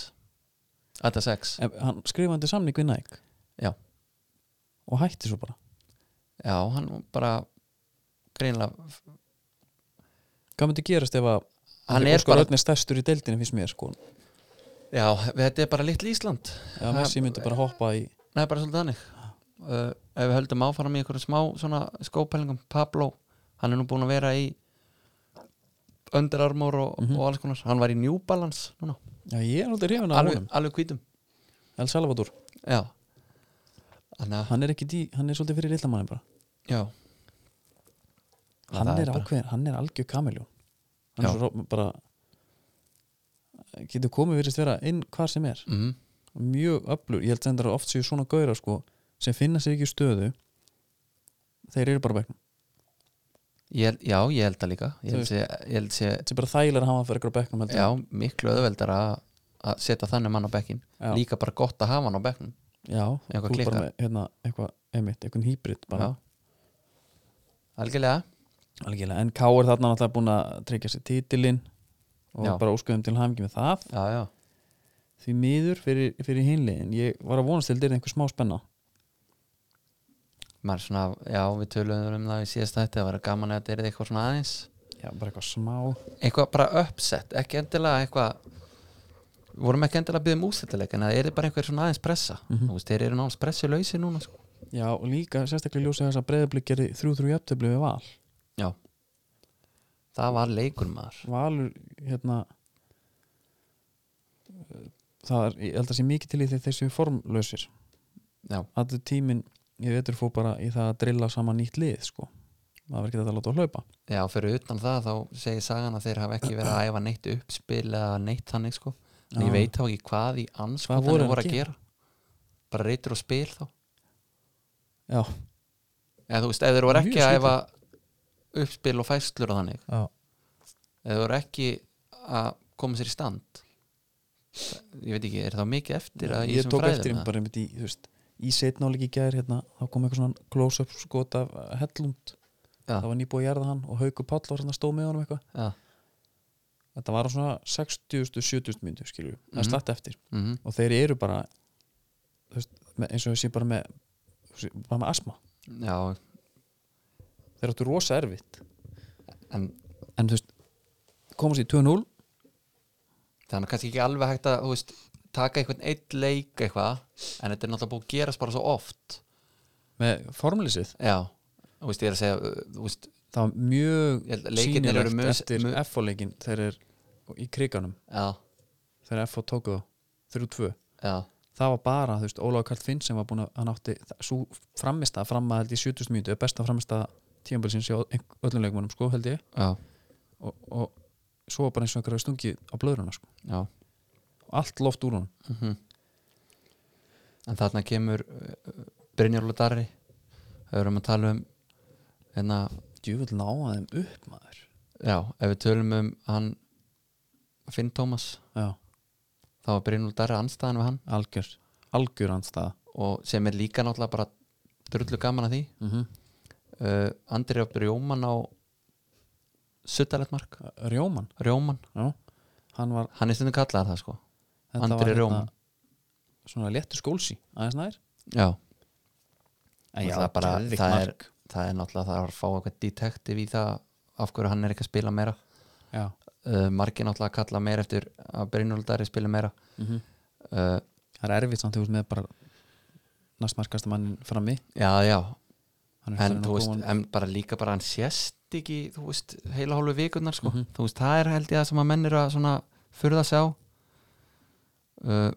Speaker 3: Adidas X
Speaker 2: Ef- hann skrifandi samning við Nike
Speaker 3: Já.
Speaker 2: og hætti svo bara
Speaker 3: já, hann bara greinlega,
Speaker 2: hvað myndi gerast ef að
Speaker 3: hann er bara
Speaker 2: öllin er stærstur í deildinu finnst mér sko
Speaker 3: já, þetta er bara litli Ísland
Speaker 2: já, Messi myndi bara hoppa í
Speaker 3: Nei, bara svolítið þannig uh, Ef við höldum áfram í einhverjum smá svona skópælingum Pablo, hann er nú búin að vera í Under Armour og,
Speaker 2: Mhm.
Speaker 3: og alls konar Hann var í New Balance núna
Speaker 2: Já, ég er aldrei hrifin af
Speaker 3: Alveg,
Speaker 2: honum
Speaker 3: alveg hvítum
Speaker 2: El Salvador,
Speaker 3: Já Þannig að,
Speaker 2: hann er ekki dí, hann er svolítið fyrir lillamannin bara
Speaker 3: já
Speaker 2: Hann
Speaker 3: Það
Speaker 2: er
Speaker 3: bara-
Speaker 2: ákveðin, hann er algjör kamiljón Hann er
Speaker 3: Já.
Speaker 2: svo ró- bara getur komið virðist vera inn hvar sem er
Speaker 3: Mhm,
Speaker 2: mjög öflur, ég held sem þetta oft séu svona gauðra sko, sem finna sér ekki í stöðu þeir eru bara á bekknum
Speaker 3: ég, held- Já, ég held það líka Ég
Speaker 2: Þú
Speaker 3: held sé, ég held sé
Speaker 2: þetta er bara þægilega að hafa hann fyrir ykkur á bekknum heldur en-
Speaker 3: já, miklu öðveldar að að setja þannig mann á bekkin
Speaker 2: Já.
Speaker 3: Líka bara gott að hafa hann á bekknum
Speaker 2: já
Speaker 3: Eitthvað
Speaker 2: þú ert bara
Speaker 3: klikkar.
Speaker 2: með hérna, eitthvað emitt, eitthvað hýbrit bara
Speaker 3: Já Algjörlega
Speaker 2: algjörlega, en K er þarna náttúrulega búin að tryggja sér titilinn og
Speaker 3: Já.
Speaker 2: bara óskuðum til hafingi með það
Speaker 3: Já, já
Speaker 2: því miður fyrir, fyrir hinlegin ég var að vonast til þetta er einhver smá spenna
Speaker 3: maður svona, já við töluðum um það í síðast þetta, það var gaman að þetta er eitthvað svona aðeins
Speaker 2: já, bara eitthvað smá
Speaker 3: eitthvað bara uppsett, ekki endilega eitthvað við vorum ekki endilega að byggja um úsættileik en það er bara einhver svona aðeins pressa
Speaker 2: Mhm.
Speaker 3: þú veist, þeir eru náttúrulega pressu lausi núna sko.
Speaker 2: já, og líka sérstaklega ljósið þess að breyðablik gerði 3-3 jafntöflu við val
Speaker 3: já það var leikur maður
Speaker 2: Valur hérna eh, það er, ég held að sé mikið til í því þeir séu formlausir
Speaker 3: já,
Speaker 2: allur tíminn ég veitur fór bara í það að drilla saman nýtt lið sko, það verður ekki þetta að láta á hlaupa
Speaker 3: já, fyrir utan það þá segir sagan að þeir hafa ekki verið að æfa neitt uppspil eða neitt þannig sko en ég
Speaker 2: Já.
Speaker 3: veit þá ekki hvað í anskotan
Speaker 2: voru
Speaker 3: voru,
Speaker 2: þeir
Speaker 3: voru
Speaker 2: að
Speaker 3: að gera bara reytur og spil þá
Speaker 2: já,
Speaker 3: eða þú veist, ef þeir voru
Speaker 2: Mjög
Speaker 3: ekki að
Speaker 2: skrítið.
Speaker 3: æfa uppspil og fæslur og þannig
Speaker 2: já.
Speaker 3: eða þú eru ekki að koma sér í stand ég veit ekki, er það mikið eftir að
Speaker 2: ég
Speaker 3: þessum
Speaker 2: tók
Speaker 3: fræðum,
Speaker 2: eftir þeim
Speaker 3: eða?
Speaker 2: bara einmitt í, þú veist í setnáleik í gær hérna, þá kom eitthvað svona close-up skot af eh, Hellund
Speaker 3: Já.
Speaker 2: það var nýbúið að jarða hann og Hauku Páll var svona stóð með honum eitthvað
Speaker 3: já,
Speaker 2: þetta var á svona 60-70 myndu skilju, það er
Speaker 3: Mhm.
Speaker 2: slatt eftir
Speaker 3: mm
Speaker 2: og þeir eru bara þú veist, með, eins og þessi bara með bara með asma,
Speaker 3: já
Speaker 2: þeir áttu rosa erfitt
Speaker 3: en
Speaker 2: en þú veist, komast í 2-0
Speaker 3: þannig er kannski ekki alveg hægt að þú veist, taka einhvern einn leik eitthvað en þetta er náttúrulega búið að gerast bara svo oft
Speaker 2: með formlýsið,
Speaker 3: já, þú veist, ég er að segja uh, þú veist,
Speaker 2: það var mjög
Speaker 3: Ég held að leikirnir eru mjög-
Speaker 2: eftir
Speaker 3: mjög-
Speaker 2: FO-leikin þeir eru í kriganum
Speaker 3: já,
Speaker 2: þegar FO tóku þá 3-2
Speaker 3: já,
Speaker 2: það var bara, þú veist, Ólaug Karl Finn sem var búin að hann átti, svo framist að framma held í 70 mínútu, besta framist að tíambilsins í öll- öllum leikmannum, sko, held ég
Speaker 3: já,
Speaker 2: og, og svo var bara eins og einhverja stungið á blöðruna, sko,
Speaker 3: já.
Speaker 2: allt loft úr hún
Speaker 3: Mm en þarna kemur uh, Brynjar og Darri við erum að tala um hérna,
Speaker 2: djúvill náða þeim upp, maður
Speaker 3: já, ef við tölum um hann Finn Tómas
Speaker 2: já,
Speaker 3: þá var Brynjólf Darri anstæðan við hann
Speaker 2: algjör, algjör anstæða
Speaker 3: og sem er líka náttúrulega bara drullu gaman að því
Speaker 2: mm -hmm.
Speaker 3: uh, Andri á Rjóman á Suttaletmark,
Speaker 2: Rjóman,
Speaker 3: Rjóman
Speaker 2: já hann var,
Speaker 3: hann er stundum kallaðar það sko
Speaker 2: þetta
Speaker 3: Andri
Speaker 2: var hérna
Speaker 3: Rjóman.
Speaker 2: svona léttur skólsi, aðeins nær
Speaker 3: já,
Speaker 2: En
Speaker 3: Það er bara-
Speaker 2: geðveikt
Speaker 3: það er-
Speaker 2: mark.
Speaker 3: það er náttúrulega það er að fá eitthvað detektiv í það af hverju hann er ekki að spila meira
Speaker 2: já,
Speaker 3: uh, margir náttúrulega að kalla meira eftir að Brynjólf Darri spila meira
Speaker 2: Mhm.
Speaker 3: uh,
Speaker 2: það er erfitt samt, þú veist, með bara næstmarkasta mannin frammi
Speaker 3: já, já
Speaker 2: Hann er
Speaker 3: en
Speaker 2: náttúrulega
Speaker 3: þú veist, eh,
Speaker 2: góðan-
Speaker 3: en bara líka bara hann sést ekki, þú veist, heila hálfu vikunar sko,
Speaker 2: Mhm.
Speaker 3: þú veist, það er held ég að sem að menn eru að svona furða sig á uh,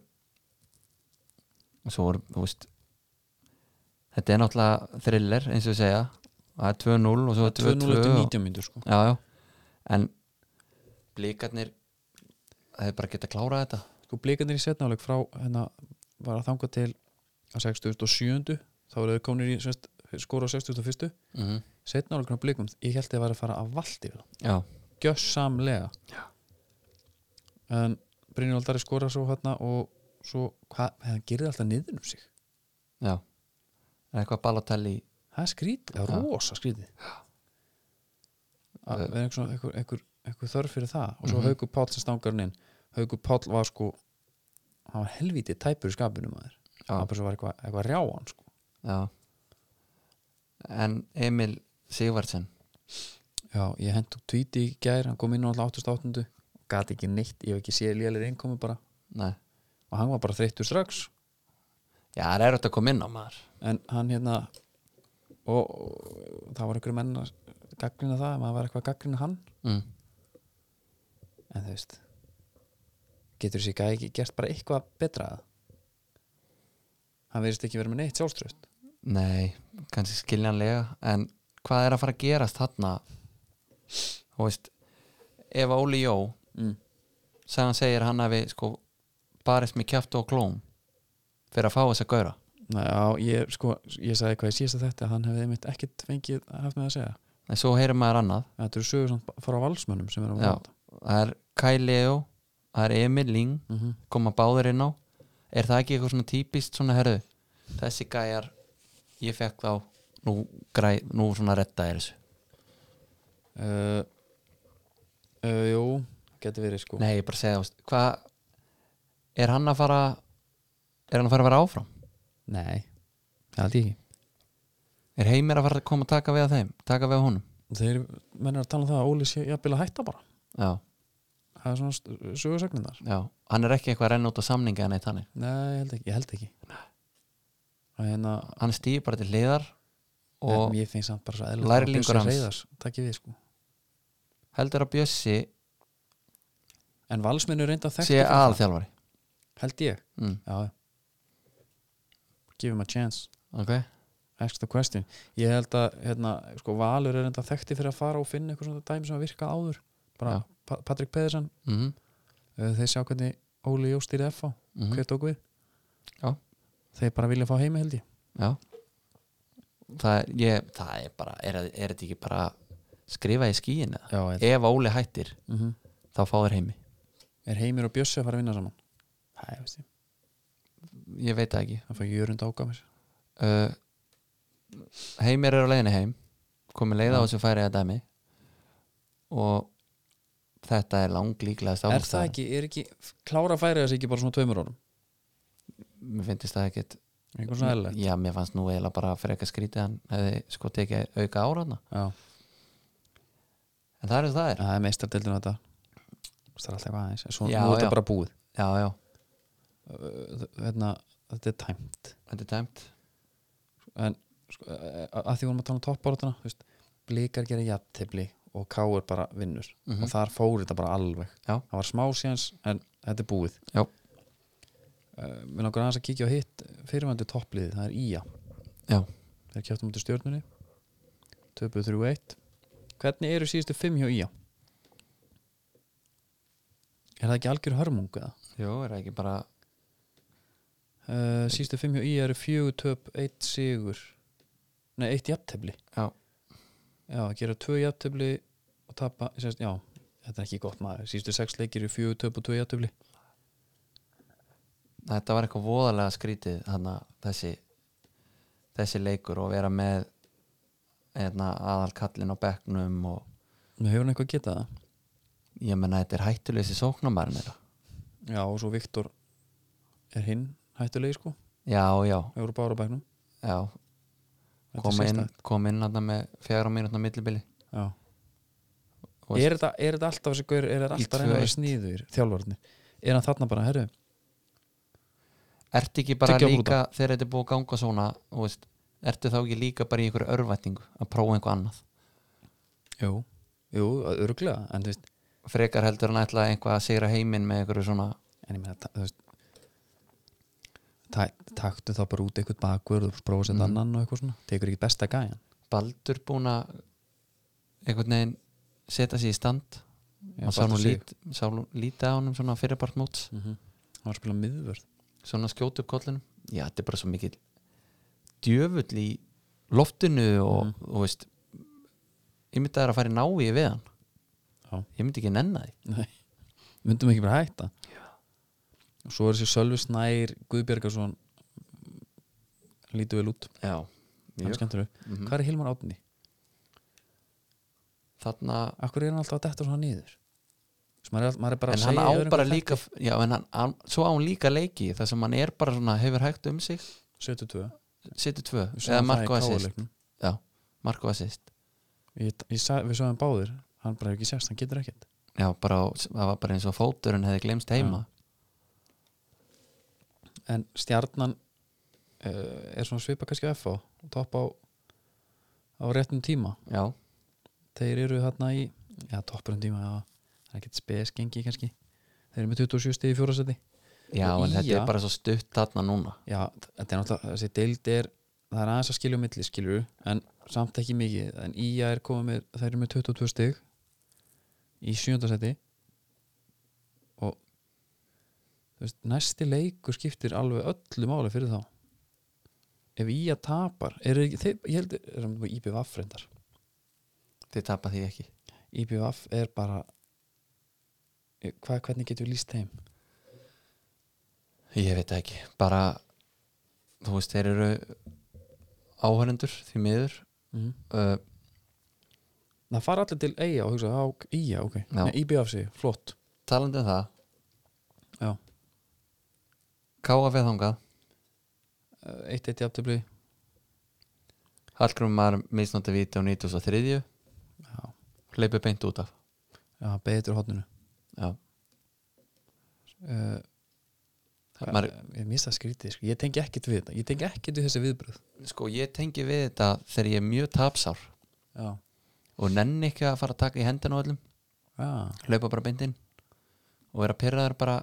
Speaker 3: og svo voru, þú veist þetta er náttúrulega thriller, eins og við segja það er 2-0 og svo er
Speaker 2: 2-0 eftir
Speaker 3: 2-2 og-
Speaker 2: 90 myndur sko
Speaker 3: já, já, en blikarnir það er bara að geta að klára þetta
Speaker 2: sko blikandir í setnáleik frá hérna var að þanga til að 67 þá eru þau komnir í semst, skora á 61
Speaker 3: mm
Speaker 2: Mhm.
Speaker 3: -hmm.
Speaker 2: setnáleikna blikum, ég held þið var að fara að valdi við það,
Speaker 3: já,
Speaker 2: gjössamlega
Speaker 3: Já.
Speaker 2: en Brynjóld Dari skora svo hérna og svo, hvað, hann gerði alltaf niður um sig
Speaker 3: já það er eitthvað balatelli
Speaker 2: það er skrítið, það er
Speaker 3: Já.
Speaker 2: rosa skrítið að vera einhver, svona- einhver, einhver, einhver þörf fyrir það og svo
Speaker 3: Mhm.
Speaker 2: Haukur Páll sem stangar hann inn Haukur Páll var sko hann var helvítið tæpur í skapinu maður
Speaker 3: já.
Speaker 2: það bara svo var eitthvað, eitthvað rjáan sko.
Speaker 3: Já En Emil Sigvartsen
Speaker 2: já, ég hentuk tvíti í gær hann kom inn á alltaf 88 gati ekki neitt, ég hef ekki séð lélir innkomi bara
Speaker 3: Nei,
Speaker 2: og hann var bara þreyttur strax
Speaker 3: Já, það er auðvitað að koma inn á maður
Speaker 2: en hann hérna og, og það var einhverjum menn að gaggrina það, maður var eitthvað að gaggrina hann
Speaker 3: mm.
Speaker 2: en þú veist getur þessi gæði ekki gert bara eitthvað betra hann verðist ekki verið með neitt sjálfströft
Speaker 3: Nei, kannski skiljanlega en hvað er að fara að gerast þarna þú veist ef Óli Jó
Speaker 2: mm.
Speaker 3: sagðan segir hann hafi sko barist með kjæft og klóm fyrir að fá þess að gaura
Speaker 2: já, ég sko, ég sagði eitthvað í síðasta þetta að hann hefði einmitt ekkit fengið haft með að segja
Speaker 3: en svo heyrir maður annað
Speaker 2: þetta eru sögur samt frá valsmönnum sem eru að
Speaker 3: Já. það er Kæleo, það er Emil Ling
Speaker 2: mm -hmm.
Speaker 3: koma báður inn á er það ekki eitthvað svona típist svona herðu þessi gæjar ég fekk þá nú, græ, nú svona retta er þessu
Speaker 2: uh, uh, Jú, getur verið sko
Speaker 3: nei ég bara segja þú veist, hvað er hann að fara er hann að fara að vera áfram
Speaker 2: Nei, það er ekki
Speaker 3: er heimir að fara að koma að taka við að þeim taka við að honum
Speaker 2: Þeir mennir að tala um það að Óli sé jafnvel að hætta bara
Speaker 3: já,
Speaker 2: Það er svona sögursögnin þar
Speaker 3: já. hann er ekki eitthvað að renna út á samninga en eitt hann er
Speaker 2: Nei, ég held ekki, ég held ekki. Það er hérna
Speaker 3: hann stýr bara til hliðar og
Speaker 2: En ég finnst samt bara svo eðlilega
Speaker 3: lærlingur hans.
Speaker 2: Takk ég við sko
Speaker 3: heldur að Bjössi
Speaker 2: En valsmennu reynda að
Speaker 3: sé
Speaker 2: þekka
Speaker 3: aðalþjálfari
Speaker 2: Held ég,
Speaker 3: mm,
Speaker 2: já já. Give him a chance
Speaker 3: ok
Speaker 2: Ask the question Ég held að hérna, sko, Valur er reynda þekkti fyrir að fara og finna eitthvað svona dæmi sem að virka áður bara
Speaker 3: Já.
Speaker 2: pa Patrik Pedersen
Speaker 3: mm,
Speaker 2: uh, þeir sjá hvernig Óli Jó stýri FH
Speaker 3: mm,
Speaker 2: hver tók við
Speaker 3: Já.
Speaker 2: þeir bara vilja fá heimi held ég
Speaker 3: já það er, ég, það er bara er, er þetta ekki bara skrifa í skíin eða?
Speaker 2: Já, ég-
Speaker 3: ef Óli hættir
Speaker 2: Mhm.
Speaker 3: þá fá þér heimi
Speaker 2: er heimir og Bjössi að fara að vinna saman Æ, veist ég,
Speaker 3: ég veit það ekki
Speaker 2: það fá jörund áka mér
Speaker 3: uh, heimir er á leiðinni heim komið leið á þessu færi að dæmi og þetta er langlíklegast
Speaker 2: er það ekki, er ekki klára færið þessi ekki bara svona tveimur árum
Speaker 3: mér finnst það ekkit
Speaker 2: eitthvað svona eðlilegt
Speaker 3: já, mér fannst nú eiginlega bara fyrir eitthvað skrítið hann hefði sko tekið auka áraðna
Speaker 2: já.
Speaker 3: en það er eins og það er
Speaker 2: það er meistardeldin á þetta það er alltaf eitthvað aðeins En svo nú
Speaker 3: Já,
Speaker 2: er
Speaker 3: já.
Speaker 2: þetta bara búið
Speaker 3: já, já,
Speaker 2: Uh, hérna, þetta er tæmt
Speaker 3: þetta er tæmt
Speaker 2: en sko, eh, að því vorum að tala um toppbáratuna þú veist, blikar gera jafntefli og káur bara vinnur
Speaker 3: Mhm.
Speaker 2: og þar fór þetta bara alveg
Speaker 3: Já.
Speaker 2: það var smá séns en þetta er búið
Speaker 3: Já.
Speaker 2: uh, mér langar aðeins að kíkja á hitt fyrirvændi toppliðið, það er Ía
Speaker 3: Já.
Speaker 2: þeir kjöftum út í stjórnunni 2-3-1 hvernig eru síðustu 5 hjá Ía? er það ekki algjör hörmung eða?
Speaker 3: jú, er það ekki bara
Speaker 2: Uh, síðustu 5 hjá Ía eru 4 töp 1 sigur nei, 1 jafntefli
Speaker 3: já,
Speaker 2: Já, að gera tvö jafntöfli og tapa, sérst, já, þetta er ekki gott maður sístu sex leikir í fjögur töp og tvö jafntöfli
Speaker 3: þetta var eitthvað voðalega skrítið þannig að þessi þessi leikur og vera með eðna, aðal kallin á bekknum og
Speaker 2: Nú hefur hann eitthvað að geta það
Speaker 3: ég menna þetta er hættuleysi sóknarmarinn þeirra
Speaker 2: Já, og svo Viktor er hinn hættulegi sko,
Speaker 3: já, já,
Speaker 2: hefur bara á bæknum
Speaker 3: já koma inn, kom inn hann með fjara mínútna millibili
Speaker 2: Já
Speaker 3: Og-
Speaker 2: Er þetta, er þetta alltaf þessi gaur, er þetta
Speaker 3: Í
Speaker 2: alltaf að reyna að
Speaker 3: 2-1.
Speaker 2: vera sníður þjálfarni, er hann þarna bara, herru
Speaker 3: ertu ekki bara
Speaker 2: Tyggja á
Speaker 3: líka þegar þetta er búið að ganga svona þú veist, ertu þá ekki líka bara í einhverju örvætingu að prófa einhver annað
Speaker 2: Jú, jú, örglega en þú veist,
Speaker 3: frekar heldur hann ætla einhvað að sigra heiminn með einhverju svona
Speaker 2: en ég meina ta- þú veist ta- taktu þá bara út eitthvað bakur og prófa að setja
Speaker 3: Mhm.
Speaker 2: annan og eitthvað svona tekur ekki besta gæjan
Speaker 3: baldur búin að einhvern veginn setja sig í stand
Speaker 2: Já,
Speaker 3: hann sá nú
Speaker 2: Baldur Sig.
Speaker 3: lít, sá nú lítið á honum svona fyrirbart móts
Speaker 2: -hmm. hann var að spila miðvörð
Speaker 3: svona skjótu upp kollinum já, þetta er bara svo mikil djöfull í loftinu og,
Speaker 2: Mhm.
Speaker 3: og veist ég myndi að það er að fara í návíi við hann
Speaker 2: Já.
Speaker 3: ég myndi ekki nenna því
Speaker 2: Nei. myndum ekki bara hætta Já. og svo er þessi Sölvi Snær Guðbjörgarsson lítur vel út
Speaker 3: já,
Speaker 2: hann skemmtur upp,
Speaker 3: Mhm.
Speaker 2: hvað er Hilmar Átni?
Speaker 3: þarna
Speaker 2: Akkur er hann alltaf að detta svona niður Þess, maður er, all- maður er bara
Speaker 3: en
Speaker 2: að
Speaker 3: hann
Speaker 2: segja
Speaker 3: á
Speaker 2: öðrum
Speaker 3: bara
Speaker 2: hvað
Speaker 3: líka já, en hann, hann, svo á hann líka leiki þar sem hann er bara svona hefur hægt um sig
Speaker 2: þetta- 72
Speaker 3: situr tvö,
Speaker 2: Við sáum
Speaker 3: eða
Speaker 2: það
Speaker 3: Marko
Speaker 2: í
Speaker 3: assist
Speaker 2: KR-leiknum.
Speaker 3: já, Marko assist
Speaker 2: Ég- ég sa- við sögum báðir hann bara hefur ekki sérst, hann getur ekkert
Speaker 3: já, bara, á- það var bara eins og fóturinn hefði glemst heima
Speaker 2: en stjarnan eh, er svona svipa kannski á FH og topp á á réttum tíma
Speaker 3: já,
Speaker 2: þeir eru þarna í já, toppurum tíma, já, það er ekkert spes gengi kannski, þeir eru með 27 stig í fjórasæti
Speaker 3: já
Speaker 2: Og
Speaker 3: en þetta
Speaker 2: Ía-
Speaker 3: er bara svo stutt þarna núna
Speaker 2: já, þetta er náttúrulega, þessi deild er það er aðeins að skilja á milli, skilur en samt ekki mikið, en Ía er komið með, þeir eru með 22 stig í sjöndarsæti og þú veist, næsti leikur skiptir alveg öllu máli fyrir þá ef Ía tapar er, þeir, ég held, er það með IBVF reyndar
Speaker 3: þið tapa því ekki
Speaker 2: IBVF er bara eh, hvað, hvernig getur við líst þeim
Speaker 3: Ég veit það ekki, bara þú veist, þeir eru áhörendur því miður
Speaker 2: mm.
Speaker 3: uh,
Speaker 2: það fara allir til EIA og hugsa á IA, ok,
Speaker 3: Já.
Speaker 2: Nei, IBVF sig, flott
Speaker 3: talandi um það
Speaker 2: Já.
Speaker 3: Káa veðhangað,
Speaker 2: Eh, eitt eitt jafntöfli
Speaker 3: Hallgrum var misnóti víti á 93
Speaker 2: já,
Speaker 3: hleypur beint út af
Speaker 2: já, betur hóttinu
Speaker 3: Já,
Speaker 2: uh,
Speaker 3: Maður,
Speaker 2: ég mista skrítið, sko. ég tengi ekkert við þetta ég tengi ekkert við þessi viðbröð
Speaker 3: sko ég tengi við þetta þegar ég er mjög tapsár
Speaker 2: já,
Speaker 3: og nenni ekki að fara að taka í hendina á öllum
Speaker 2: já,
Speaker 3: hlaupa bara beint inn og vera pyrraður bara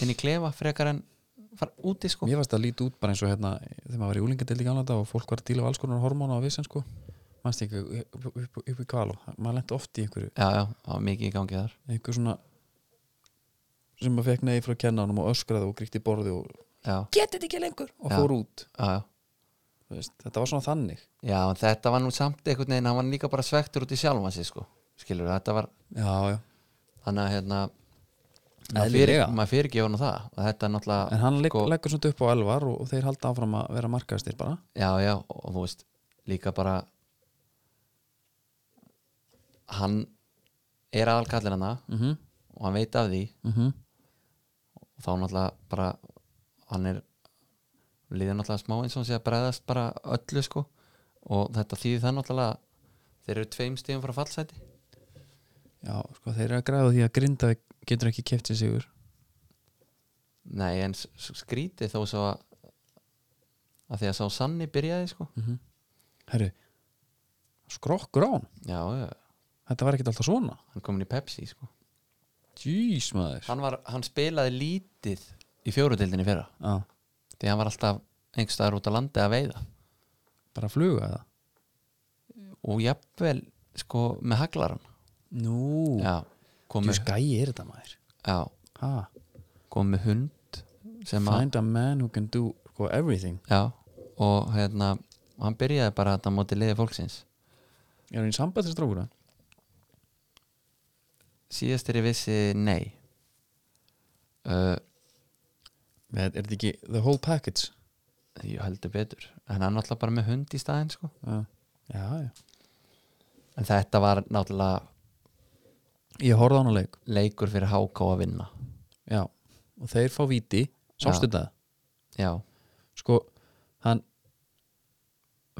Speaker 3: inn í klefa frekar en fara úti sko
Speaker 2: mér fannst það lítið út bara eins og hérna þegar maður var í úlingadeldi í gamla þetta og fólk var að díla af alls konar hormónu á vissin sko mannst ekki upp, upp, upp í kvalu maður lendi oft í einhverju
Speaker 3: Já, já, það var mikið í gangi þar
Speaker 2: einhver svona sem maður fekk neði frá kennanum og öskraði og gríkti í borði og
Speaker 3: Já,
Speaker 2: getið þetta ekki lengur og
Speaker 3: Já.
Speaker 2: fór út
Speaker 3: já, já
Speaker 2: Þú veist, þetta var svona þannig
Speaker 3: Já, en þetta var nú samt einhvern veginn hann var líka bara svektur út í sjálfan sig sko skilur þetta var
Speaker 2: já, já.
Speaker 3: þannig að hérna maður
Speaker 2: Eðlilega.
Speaker 3: fyrir- maður fyrirgefur nú það og þetta er náttúrulega
Speaker 2: en hann legg,
Speaker 3: sko,
Speaker 2: leggur svona upp á elvar og, og þeir halda áfram að vera markaðstir bara
Speaker 3: já, já, og þú veist líka bara hann er aðalkallin hana
Speaker 2: mm -hmm.
Speaker 3: og hann veit af því
Speaker 2: Mm -hmm.
Speaker 3: og þá náttúrulega bara hann er líður náttúrulega smá eins og hann sé að bregðast bara öllu sko og þetta þýðir það náttúrulega þeir eru tveim stíðum frá fallseti
Speaker 2: já, sko, þeir eru að græða því að grinda getur ekki keft sér sigur
Speaker 3: nei en s- s- skrítið þó svo að að því að sá Sanni byrjaði sko
Speaker 2: herru, skrokkur á hann
Speaker 3: já, já,
Speaker 2: þetta var ekkert alltaf svona
Speaker 3: hann komin í Pepsi sko
Speaker 2: jís maður
Speaker 3: hann, var, hann spilaði lítið í fjórutildinni fyrra
Speaker 2: já,
Speaker 3: því hann var alltaf einhvers staðar út á landi að veiða
Speaker 2: bara að fluga það
Speaker 3: og jafnvel sko með haglaran
Speaker 2: nú,
Speaker 3: já, kom
Speaker 2: þú
Speaker 3: með,
Speaker 2: skæi er þetta maður
Speaker 3: já,
Speaker 2: ha,
Speaker 3: kom með hund sem að
Speaker 2: find a man who can do sko, everything
Speaker 3: Já, og hérna og hann byrjaði bara þetta móti liði fólksins
Speaker 2: er hann í sambandistrókuna?
Speaker 3: síðast er ég vissi nei uh,
Speaker 2: er þetta ekki the whole package?
Speaker 3: ég heldur betur en hann er náttúrulega bara með hund í staðinn sko.
Speaker 2: já, já, já.
Speaker 3: en þetta var náttúrulega
Speaker 2: ég horfði á hann að leik
Speaker 3: leikur fyrir háká að vinna
Speaker 2: já, og þeir fá víti sástu þetta,
Speaker 3: já,
Speaker 2: sko hann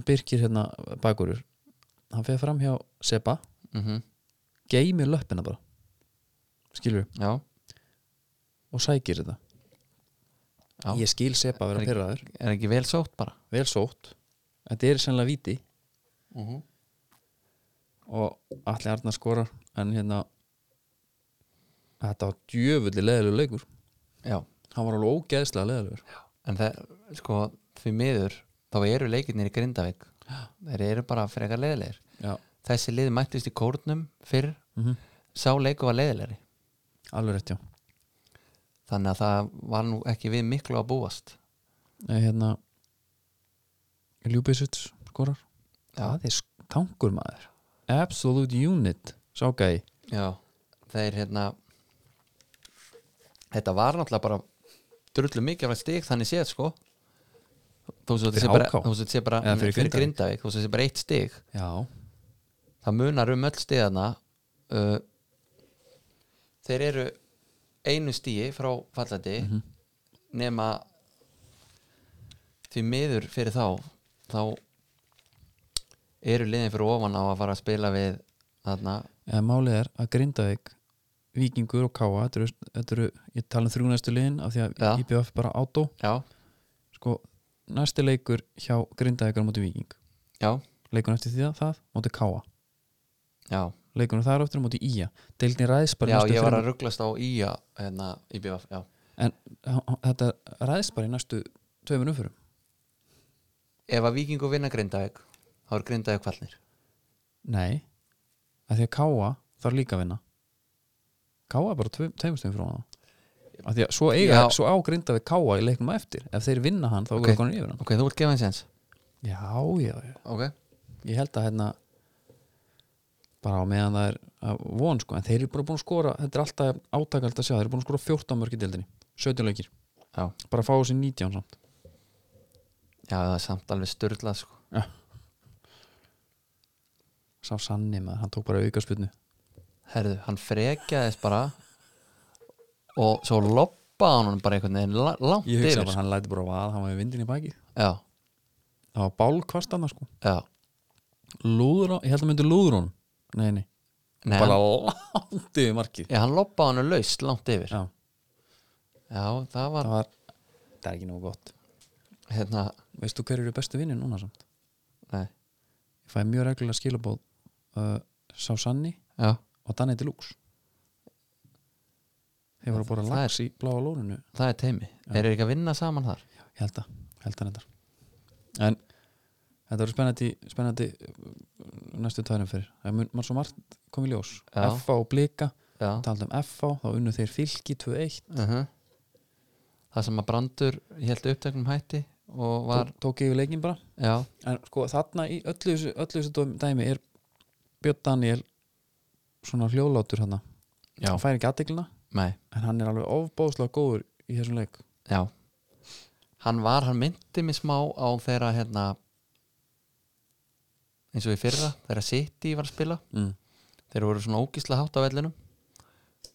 Speaker 2: Birkir hérna bakurur hann fer fram hjá Seba
Speaker 3: mm
Speaker 2: geymir löppina bara skilur,
Speaker 3: já,
Speaker 2: og sækir þetta
Speaker 3: já.
Speaker 2: ég skil Seba að vera
Speaker 3: Er-
Speaker 2: pyrraður
Speaker 3: er ekki vel sótt bara
Speaker 2: vel sótt, þetta er sennilega víti
Speaker 3: mm -hmm.
Speaker 2: og allir Arnar skorar en hérna þetta var djöfulli leðilegur leikur
Speaker 3: já,
Speaker 2: hann var alveg ógeðslega leðilegur
Speaker 3: en það, sko því miður, þá eru leikirnir í Grindavík þeir eru bara frekar leiðilegir
Speaker 2: já,
Speaker 3: þessi liði mættist í kórnum fyrr
Speaker 2: mm
Speaker 3: sá leiku var leiðilegri
Speaker 2: alveg rétt já
Speaker 3: þannig að það var nú ekki við miklu að búast
Speaker 2: Nei, hérna Ljúbisut skorar það er tankur maður Absolute Unit, sá gæi
Speaker 3: já. þeir hérna þetta var náttúrulega bara drullu mikið af stig þannig séð sko þú svo þetta
Speaker 2: Fyrir
Speaker 3: sé bara,
Speaker 2: HK?
Speaker 3: þó svo þetta sé bara
Speaker 2: Eða fyrir
Speaker 3: fyrir
Speaker 2: Grindavík?
Speaker 3: Grindavík, þú svo þetta sé bara eitt stig
Speaker 2: Já,
Speaker 3: það munar um öll stiðana uh, þeir eru einu stíi frá fallandi nema því miður fyrir þá þá eru liðin fyrir ofan á að fara að spila við þarna,
Speaker 2: eða málið er að Grindavík Víkingur og Káa þetta eru, þetta eru, ég tala um þrjúnæstu liðin af því að
Speaker 3: Já.
Speaker 2: IBF bara átó
Speaker 3: já,
Speaker 2: sko, næsti leikur hjá Grindavíkur á móti Víking
Speaker 3: já,
Speaker 2: leikur eftir því að það, móti Káa
Speaker 3: já,
Speaker 2: leikur þar eftir á móti Ía deildin ræðs bara
Speaker 3: já
Speaker 2: næstu
Speaker 3: ég var að
Speaker 2: þremur-
Speaker 3: rugglast á Ía hérna í BVF, já
Speaker 2: þetta ræðs bara í næstu tveimur umförum
Speaker 3: ef að Víkingu vinna Grindavík þá er Grindavík fallnir
Speaker 2: nei, að því að Káa þarf líka að vinna Káa er bara tve, tveimur stöðum frá það að því að svo, eiga,
Speaker 3: Já.
Speaker 2: svo á Grindavík Káa í leiknum á eftir ef þeir vinna hann þá
Speaker 3: Ok.
Speaker 2: okay. er konar yfir hann
Speaker 3: ok, þú vilt gefa hans eins
Speaker 2: já, já, já
Speaker 3: ok,
Speaker 2: ég held að hérna bara á meðan það er að von sko, en þeir eru bara búin að skora þetta er alltaf átakald að sjá, þeir eru búin að skora 14 mörg í deildinni, 17 leikir
Speaker 3: já,
Speaker 2: bara að fá þessi 19 samt
Speaker 3: já það er samt alveg styrlað sko.
Speaker 2: sá Sanni með, hann tók bara aukaspilnu
Speaker 3: herðu, hann frekjaðist bara og svo loppaði hann honum bara einhvern veginn la- langt
Speaker 2: ég hugsa
Speaker 3: yfir
Speaker 2: bara,
Speaker 3: sko.
Speaker 2: hann læti bara að hann var í vindin í baki
Speaker 3: já,
Speaker 2: það var bálkvast annars sko
Speaker 3: já
Speaker 2: lúður á, ég held að myndi lúður honum nei, nei,
Speaker 3: Nei,
Speaker 2: bara
Speaker 3: hann,
Speaker 2: langt yfir markið
Speaker 3: já, hann loppaði hann laust langt yfir já,
Speaker 2: já,
Speaker 3: það var
Speaker 2: það var það er ekki nógu gott
Speaker 3: hérna,
Speaker 2: veist þú hver eru bestu vinni núna samt
Speaker 3: nei,
Speaker 2: ég fæði mjög reglulega skilabóð uh, sá Sanni
Speaker 3: já
Speaker 2: og Danny Deluxe þeir voru að bóra
Speaker 3: Það
Speaker 2: lags í bláa lóninu
Speaker 3: það er teimi, þeir eru ekki að vinna saman þar
Speaker 2: ég held að, ég held að reyndar en þetta verður spennandi, spennandi uh, næstu tværum fyrir það mun mann svo margt kom í ljós
Speaker 3: Já.
Speaker 2: FA og Blika,
Speaker 3: já,
Speaker 2: talað um FA þá unnu þeir fylki 2-1
Speaker 3: uh það sem að Brandur held upptöknum hætti og var,
Speaker 2: tók, tók yfir leikin bara
Speaker 3: já,
Speaker 2: en sko þarna í öllu þessu, öllu þessu dæmi- dæmi er Björn Daniel svona hljóðlátur hann
Speaker 3: Já.
Speaker 2: hann fær ekki aðdeglina
Speaker 3: nei,
Speaker 2: en hann er alveg ofbóðslega góður í þessum leik
Speaker 3: já hann var, hann myndi mig smá á þeirra hérna eins og í fyrra, þeirra City var að spila
Speaker 2: mm.
Speaker 3: þeir voru svona ógísla hátt á vellinum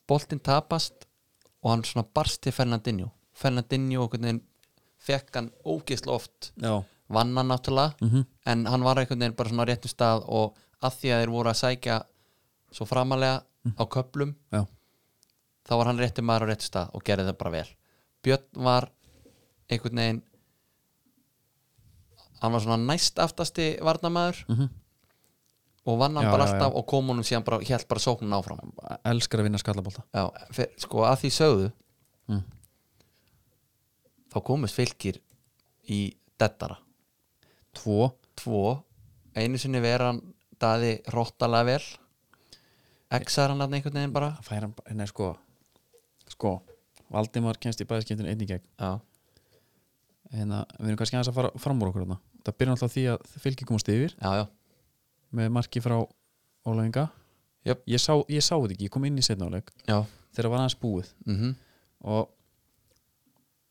Speaker 3: boltinn tapast og hann svona barst til Fernandinho Fernandinho einhvern veginn fekk hann ógísla oft
Speaker 2: já,
Speaker 3: vann hann náttúrulega
Speaker 2: mm
Speaker 3: en hann var einhvern veginn bara svona á réttum stað og að því að þeir voru að sækja svo framalega á köplum
Speaker 2: Mm. Já.
Speaker 3: þá var hann réttum maður á réttum stað og gerði það bara vel Björn var einhvern veginn hann var svona næst aftasti varnamaður
Speaker 2: Mhm.
Speaker 3: og vann hann
Speaker 2: Já,
Speaker 3: bara
Speaker 2: já,
Speaker 3: alltaf og kom honum síðan bara, hélt bara sóknun áfram
Speaker 2: elskar að vinna skallabólta
Speaker 3: já, fyr, sko að því sögðu
Speaker 2: Mm.
Speaker 3: þá komist fylgir í dettara
Speaker 2: tvo,
Speaker 3: tvo einu sinni vera hann daði hróttalega vel exar hann hann einhvern veginn bara
Speaker 2: það fær hann bara, nei sko sko, Valdimar kemst í bæðiskiptinu einn í gegn,
Speaker 3: já,
Speaker 2: hérna, við erum kannski aðeins að fara fram úr okkur þarna, það byrja alltaf því að fylgir komast yfir
Speaker 3: já, já,
Speaker 2: með marki frá Ólaðinga
Speaker 3: Jöp.
Speaker 2: ég, sá, ég sá þetta ekki, ég kom inn í setna áleik
Speaker 3: já.
Speaker 2: þegar það var aðeins búið
Speaker 3: Mm
Speaker 2: og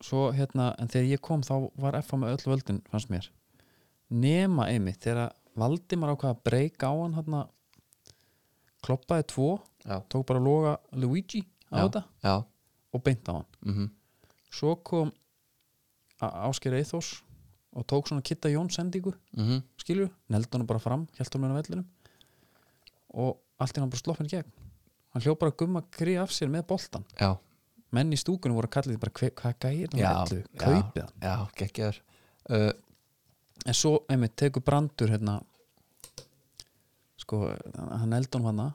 Speaker 2: svo hérna, en þegar ég kom þá var FA með öll völdin, fannst mér nema einmitt, þegar Valdimar ákvað að breyka á hann hérna, kloppaði tvo
Speaker 3: já,
Speaker 2: tók bara að loga Luigi á
Speaker 3: Já.
Speaker 2: þetta
Speaker 3: já
Speaker 2: og beint á hann
Speaker 3: mm
Speaker 2: svo kom A- Ásgeir Eithós og tók svona Kitta Jón sendingu,
Speaker 3: Mhm.
Speaker 2: skilju neldi hann bara fram, held hann með vellinum og allt í hann bara sloppin í gegn hann hljóð bara að gumma kri af sér með boltan
Speaker 3: já,
Speaker 2: menn í stúkunum voru að kalla því bara "Hve- hvað gæir hann
Speaker 3: já,
Speaker 2: á vellu,
Speaker 3: já,
Speaker 2: kaupið hann
Speaker 3: já, geggjaður uh,
Speaker 2: en svo, einmitt, tekur brandur hérna sko, hann eldi hann hana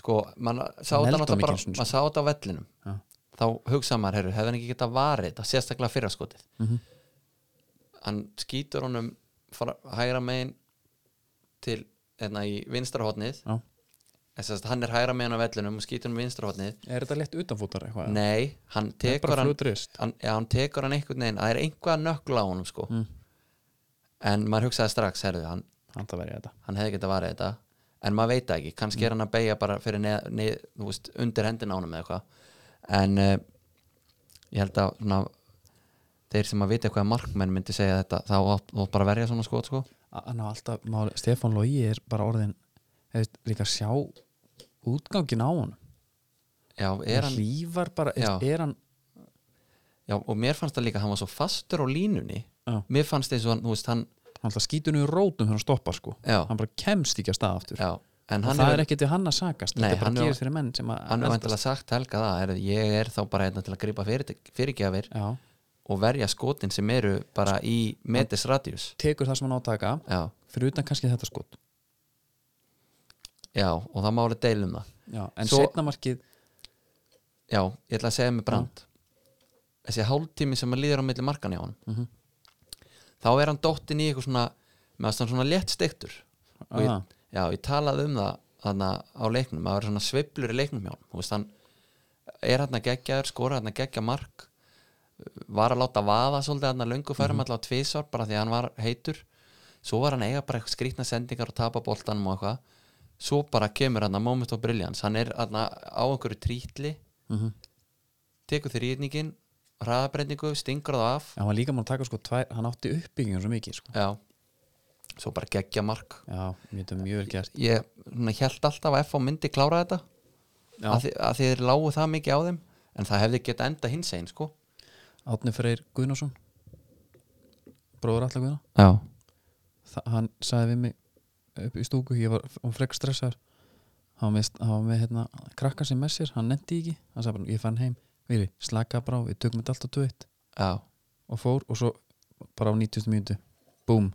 Speaker 3: sko, mann sá
Speaker 2: Hann heldur
Speaker 3: þetta
Speaker 2: hann
Speaker 3: náttúrulega
Speaker 2: ekki
Speaker 3: bara,
Speaker 2: einu sinni, sko.
Speaker 3: maður sá þetta á vellinum
Speaker 2: Já.
Speaker 3: þá hugsa maður, heyrðu, hefði hann ekki getað varið þetta, sérstaklega fyrra skotið
Speaker 2: Mhm.
Speaker 3: hann skýtur honum fara, hægra megin til, hérna, í vinstra hotnið
Speaker 2: Já.
Speaker 3: en sérst, hann er hægra megin á vellinum og skýtur honum í vinstra hotnið
Speaker 2: er þetta lett utanfótar eitthvað?
Speaker 3: nei, hann
Speaker 2: Þetta er
Speaker 3: tekur
Speaker 2: bara
Speaker 3: hann
Speaker 2: flutrist
Speaker 3: hann, já, hann tekur hann einhvern veginn, það er einhvað nökla á honum sko
Speaker 2: Mm.
Speaker 3: en maður hugsaði strax, heyrðu, hann,
Speaker 2: hann það verið þetta
Speaker 3: hann hefði getað varðið þetta en maður veit það ekki, kannski
Speaker 2: Mm.
Speaker 3: er hann að beigja bara fyrir neð, neð, þú veist, undir hendina ánum eða eitthvað en uh, ég held að svona, þeir sem að vita eitthvað um markmenn myndi segja þetta þá átt þú átt bara að verja svona skot sko.
Speaker 2: hann á alltaf, máli, Stefán Lógi er bara orðin er líka að sjá útgangin á hann
Speaker 3: já, er hann,
Speaker 2: hlýfar bara,
Speaker 3: Já.
Speaker 2: er, er hann
Speaker 3: já, og mér fannst það líka að hann var svo fastur á línunni
Speaker 2: Já.
Speaker 3: mér fannst eins og hann, þú veist, hann
Speaker 2: hann alltaf skýtur nú í rótum þegar hann stoppar sko
Speaker 3: já,
Speaker 2: hann bara kemst ekki að stað aftur
Speaker 3: já, en
Speaker 2: og
Speaker 3: hann
Speaker 2: það er ekkit við hann að sakast
Speaker 3: Nei,
Speaker 2: þetta er bara
Speaker 3: hann er-
Speaker 2: gerist fyrir menn sem að
Speaker 3: hann er
Speaker 2: eldast.
Speaker 3: vantilega sagt helga það er, ég er þá bara hérna til að gripa fyrir, fyrirgjafir
Speaker 2: já,
Speaker 3: og verja skotin sem eru bara í metis radius
Speaker 2: tekur það sem hann á að taka
Speaker 3: já,
Speaker 2: fyrir utan kannski þetta skot
Speaker 3: já, og það má alveg deila um það
Speaker 2: já, en
Speaker 3: Svo-
Speaker 2: Svo... markið
Speaker 3: já, ég ætla að segja með brand þessi hálftími sem að líður á milli markan hjá hann
Speaker 2: Mhm.
Speaker 3: þá er hann dóttin í eitthvað svona með að hann svona létt steiktur og ég,
Speaker 2: Aha.
Speaker 3: já, ég talaði um það þarna á leiknum, að vera svona sveiflur í leiknum hjá hann, þú veist hann er hann að geggjaður, skora hann að geggja mark var að láta vaða svolítið hann að löngu færum mm -hmm. allavega tvisvar bara því að hann var heitur svo var hann að eiga bara eitthvað skrýtna sendingar og tapa boltanum og eitthvað svo bara kemur hann að moment of brilliance hann er hann á einhverju trítli
Speaker 2: Mhm.
Speaker 3: tekur þrýðningin hraðabreyningu, stingur það af
Speaker 2: hann var líka mann að taka sko tvær, hann átti uppbyggjum svo mikið sko.
Speaker 3: já, svo bara geggja mark
Speaker 2: já, mér þetta mjög vel gert
Speaker 3: ég svona, held alltaf að F.A. myndi klára þetta
Speaker 2: Já.
Speaker 3: að, þi að þið lágu það mikið á þeim en það hefði geta enda hins einn sko
Speaker 2: Átni Freyr Guðnason bróður allar Guðna
Speaker 3: já,
Speaker 2: Þa- hann sagði við mig upp í stúku ég var um frekk stressaður hann var með, hann var með hérna, krakka sem með sér hann nefndi ekki, hann sagði bara ég fann heim við slaka bara á, við tökum þetta alltaf tveitt
Speaker 3: já,
Speaker 2: og fór og svo bara á 90 mínútu búm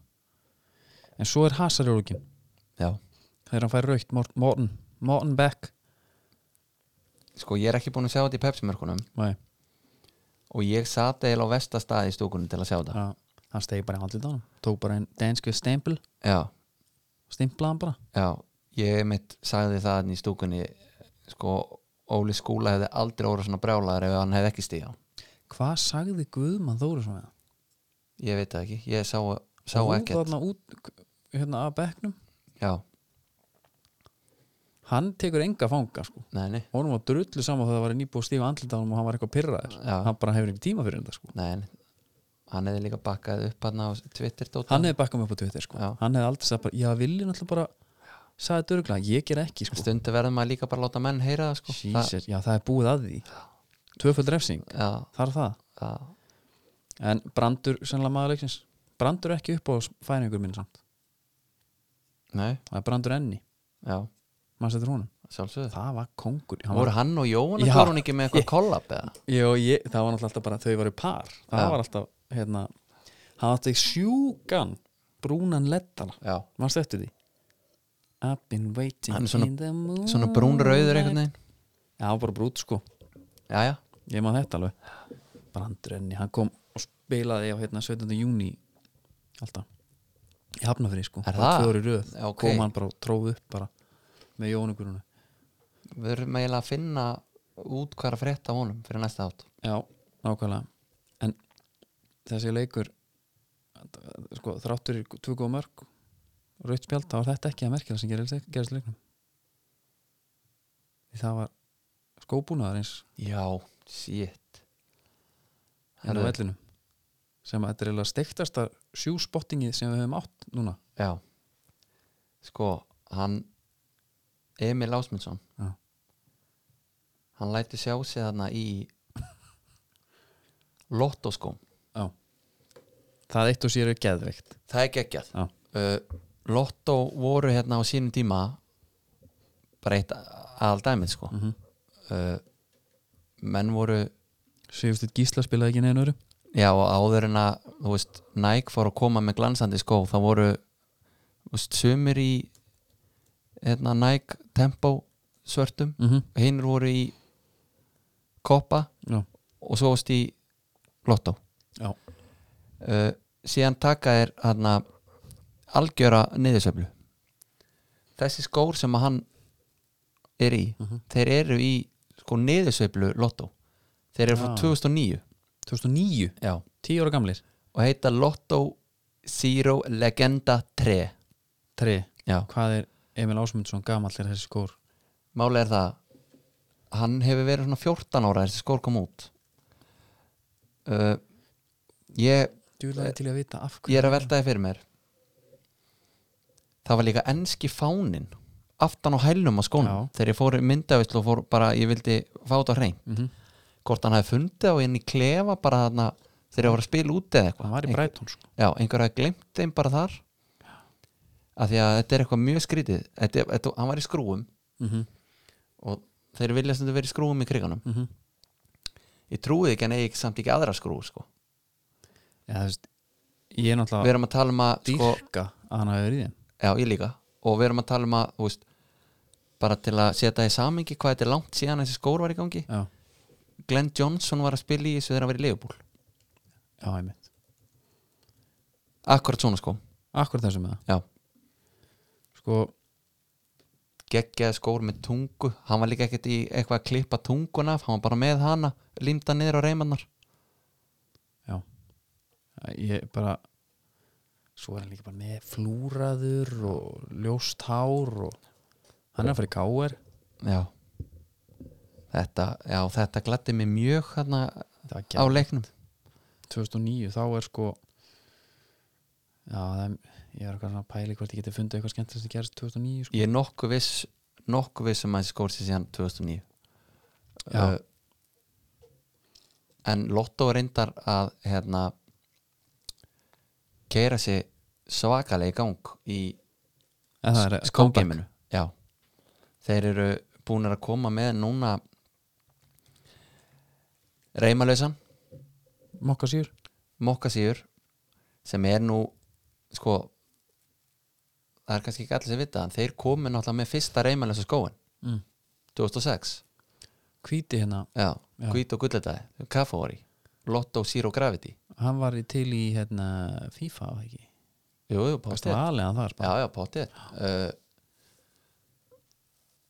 Speaker 2: en svo er hasarjólukin
Speaker 3: já
Speaker 2: þegar hann fær raukt Morten, Morten Beck
Speaker 3: sko ég er ekki búin að sjá þetta í Pepsi-mörkunum
Speaker 2: Nei,
Speaker 3: og ég sat eiginlega á vestastaði í stúkunum til að sjá þetta
Speaker 2: að, hann stegi bara í andlit á hann tók bara einn dansku stempel
Speaker 3: já,
Speaker 2: stemplaði hann bara
Speaker 3: já, ég mitt sagði það þarna í stúkunni sko Óli Skúla hefði aldrei orðið svona brjálaður ef hann hefði ekki stíða
Speaker 2: hvað sagði Guðmann Þóru svona
Speaker 3: ég veit það ekki, ég sá, sá ekkert
Speaker 2: þarna út hérna að Becknum
Speaker 3: já,
Speaker 2: hann tekur enga fanga sko
Speaker 3: nei, nei,
Speaker 2: honum var drullu saman þegar það var nýbúið stíf andlit á honum og hann var eitthvað pirraður
Speaker 3: Já.
Speaker 2: hann bara hefur ekki tíma fyrir þetta sko
Speaker 3: nei nei. hann hefði líka bakkað upp hann á Twitter dótið.
Speaker 2: hann hefði bakkað mig upp á Twitter sko
Speaker 3: Já.
Speaker 2: hann hefði aldrei sagt bara, já vilji náttúrulega bara sagði þetta örgulega, ég ger ekki sko
Speaker 3: stundu verður maður líka bara að láta menn heyra það sko það,
Speaker 2: Jesus, já það er búið að því tvöföld refsing,
Speaker 3: já,
Speaker 2: þar það
Speaker 3: það,
Speaker 2: en brandur, sennilega maður leiksins brandur ekki upp á færingur minn samt
Speaker 3: nei,
Speaker 2: það er brandur enni,
Speaker 3: já,
Speaker 2: maður setur honum
Speaker 3: sjálfsögðu
Speaker 2: það var kongur hann var,
Speaker 3: voru hann og Jóhann
Speaker 2: Já.
Speaker 3: að voru hann ekki með eitthvað kollab eða
Speaker 2: Jó, ég, það var náttúrulega alltaf bara þau varu par það
Speaker 3: Já.
Speaker 2: var alltaf, hérna hann átti sjúkan brúnan lettala
Speaker 3: já,
Speaker 2: Varst eftir því? I've been waiting
Speaker 3: Hann er svona-
Speaker 2: in the moon
Speaker 3: svona brún rauður einhvern veginn
Speaker 2: Já, hann var bara brút sko
Speaker 3: já, já,
Speaker 2: Ég maður þetta alveg Brandur enni, hann kom og spilaði á hérna 17. júni Alltaf Ég hafna fyrir sko
Speaker 3: Er
Speaker 2: Bara
Speaker 3: það?
Speaker 2: tvö ár í röð
Speaker 3: Já, ok.
Speaker 2: Kom hann bara og tróð upp bara Með jónugurinu
Speaker 3: við erum eiginlega að finna út hvað er að frétta af honum fyrir næsta átt
Speaker 2: Já, nákvæmlega En þessi leikur Sko, þráttur í tvö góða mörg Raut spjald, þá var þetta ekki að merkja sem gerist gerist í leiknum Því það var skóbúnaður eins
Speaker 3: já, shit
Speaker 2: inn á
Speaker 3: Herðu.
Speaker 2: vellinu sem að þetta er eiginlega steiktasta sjúspottingið sem við höfum átt núna
Speaker 3: já, sko hann Emil Ásmundsson
Speaker 2: Já.
Speaker 3: hann lætur sjá sig þarna í lottoskóm
Speaker 2: já. það eitt og sér er geðveikt
Speaker 3: það er geggjað
Speaker 2: Já.
Speaker 3: uh, Lotto voru hérna á sínum tíma bara eitt aðaldæmið sko
Speaker 2: Mhm.
Speaker 3: uh, menn voru
Speaker 2: Sigursteinn Gísla spilaði ekki neðan öru
Speaker 3: já og áður en að þú veist, Nike fór að koma með glansandi skó þá voru þú veist, sumir í hérna, Nike Tempo svörtum
Speaker 2: mm -hmm.
Speaker 3: hinnur voru í koppa
Speaker 2: já.
Speaker 3: og svo varst í Lotto
Speaker 2: Já.
Speaker 3: uh, síðan taka þér hana, algjöra niðursöflu þessi skór sem að hann er í þeir eru í sko niðursöflu Lotto þeir eru frá
Speaker 2: Já.
Speaker 3: 2009
Speaker 2: 2009,
Speaker 3: Já.
Speaker 2: 10 ára gamlir
Speaker 3: og heita Lotto Zero Legenda 3
Speaker 2: 3,
Speaker 3: Já.
Speaker 2: hvað er Emil Ásmundsson gamallir þessi skór
Speaker 3: Máli er það hann hefur verið svona 14 ára þessi skór kom út uh, ég
Speaker 2: djúlaði til að vita af
Speaker 3: ég
Speaker 2: hverju
Speaker 3: er að velta þið fyrir mér það var líka enski fánin aftan á hælnum á skónum
Speaker 2: Já.
Speaker 3: þegar ég fór í myndavislu og fór bara ég vildi fá þetta á hrein
Speaker 2: Mhm.
Speaker 3: hvort hann hafi fundið og inn í klefa bara þarna þegar ég var að spila úti eða
Speaker 2: hann
Speaker 3: eitthvað
Speaker 2: var í Breitón sko.
Speaker 3: já, einhver hafi glemt þeim bara þar af því að þetta er eitthvað mjög skrítið þetta, þetta, hann var í skrúum
Speaker 2: mm -hmm.
Speaker 3: og þeir vilja sem þetta verið í skrúum í kriganum
Speaker 2: Mm
Speaker 3: ég trúið ekki hann eigi samt ekki aðra skrú sko.
Speaker 2: Já, þú veist, ég er
Speaker 3: við
Speaker 2: náttúrulega
Speaker 3: erum að tala um að sko,
Speaker 2: dýrka að hann hafi verið í þeim
Speaker 3: já, ég líka og við erum að tala um að, þú veist bara til að setja í samingi hvað þetta er langt síðan þessi skór var í gangi
Speaker 2: Já,
Speaker 3: Glenn Johnson var að spila í þessu þegar hann var í Leifbúl
Speaker 2: já, einmitt
Speaker 3: akkurat svona skó,
Speaker 2: Akkur þessum með það
Speaker 3: já,
Speaker 2: Sko,
Speaker 3: geggjaði skór með tungu hann var líka ekkert í eitthvað að klippa tunguna af, hann var bara með hana, límda niður á reymannar
Speaker 2: já Ég bara Svo er hann líka bara með flúraður og ljóst hár og hann er að fara í káir
Speaker 3: já þetta, já, þetta gladdi mig mjög hérna
Speaker 2: Það
Speaker 3: á leiknum
Speaker 2: 2009 þá er sko já, það er, ég er eitthvað svona að pæli hvort ég geti fundið eitthvað skemmtilegt sem gerist 2009 sko.
Speaker 3: ég er nokkuð viss nokkuð viss um að þessi skór sé síðan 2009
Speaker 2: Já.
Speaker 3: Uh, en Lotto reyndar að hérna keira sig svakalega í gang í
Speaker 2: En það er
Speaker 3: skógeiminu já þeir eru búinir að koma með núna reymalausan
Speaker 2: mokka síður
Speaker 3: mokkasýur sem er nú sko það er kannski ekki allir sem vita en þeir komu náttúrulega með fyrsta reymalausa skóin
Speaker 2: mm.
Speaker 3: 2006
Speaker 2: hvíti hérna,
Speaker 3: já,
Speaker 2: Já.
Speaker 3: hvít og gulletaði kaffóri, Lotto Zero Gravity
Speaker 2: hann var í til í hérna, FIFA var það ekki,
Speaker 3: jú, jú,
Speaker 2: það
Speaker 3: pottið
Speaker 2: var alveg að það
Speaker 3: já, já, pottið uh,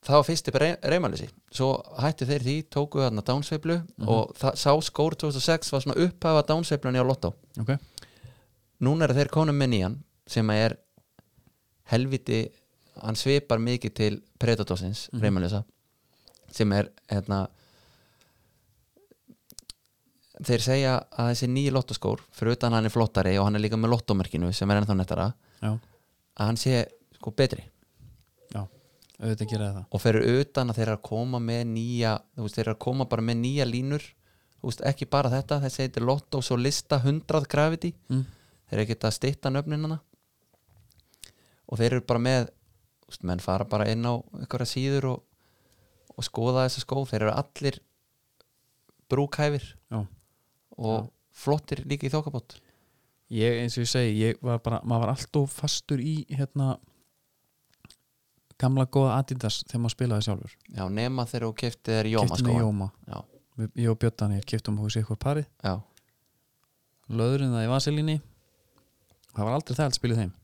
Speaker 3: það var fyrsti reymalausi svo hættu þeir því, tóku þarna dánsveiflu
Speaker 2: Mhm.
Speaker 3: og það, sá skór 2006 var svona upphafa dánsveiflunni á Lotto
Speaker 2: ok,
Speaker 3: núna eru þeir konum með nýjan sem að er helviti hann svipar mikið til Predatorsins mm
Speaker 2: Mhm.
Speaker 3: sem er hérna þeir segja að þessi nýji lottoskór fyrir utan hann er flottari og hann er líka með lottomerkinu sem er ennþá nettara
Speaker 2: já,
Speaker 3: að hann sé sko betri
Speaker 2: já auðvitað gera það
Speaker 3: og fyrir utan að þeir eru að koma með nýja þú veist, þeir eru að koma bara með nýja línur þú veist, ekki bara þetta, þessi heitir Lotto svo lista 100 gravity
Speaker 2: mm.
Speaker 3: þeir eru ekkert að stytta nöfninana og þeir eru bara með þú veist, menn fara bara inn á einhverja síður og, og skoða þessa skó þeir eru allir brúkhæfir
Speaker 2: já
Speaker 3: og flottir líka í þokkabót
Speaker 2: ég eins og ég segi, ég var bara maður var alltof fastur í hérna gamla góða Adidas þegar maður spilaði sjálfur
Speaker 3: já, nema þeir eru keftið þeir
Speaker 2: Keypti
Speaker 3: jóma
Speaker 2: mér
Speaker 3: skóan
Speaker 2: Jóma,
Speaker 3: já,
Speaker 2: Við- ég og Bjötan ég keftum hús í eitthvað parið
Speaker 3: já,
Speaker 2: löðurinn það í vaselinni það var aldrei þægilt spilið þeim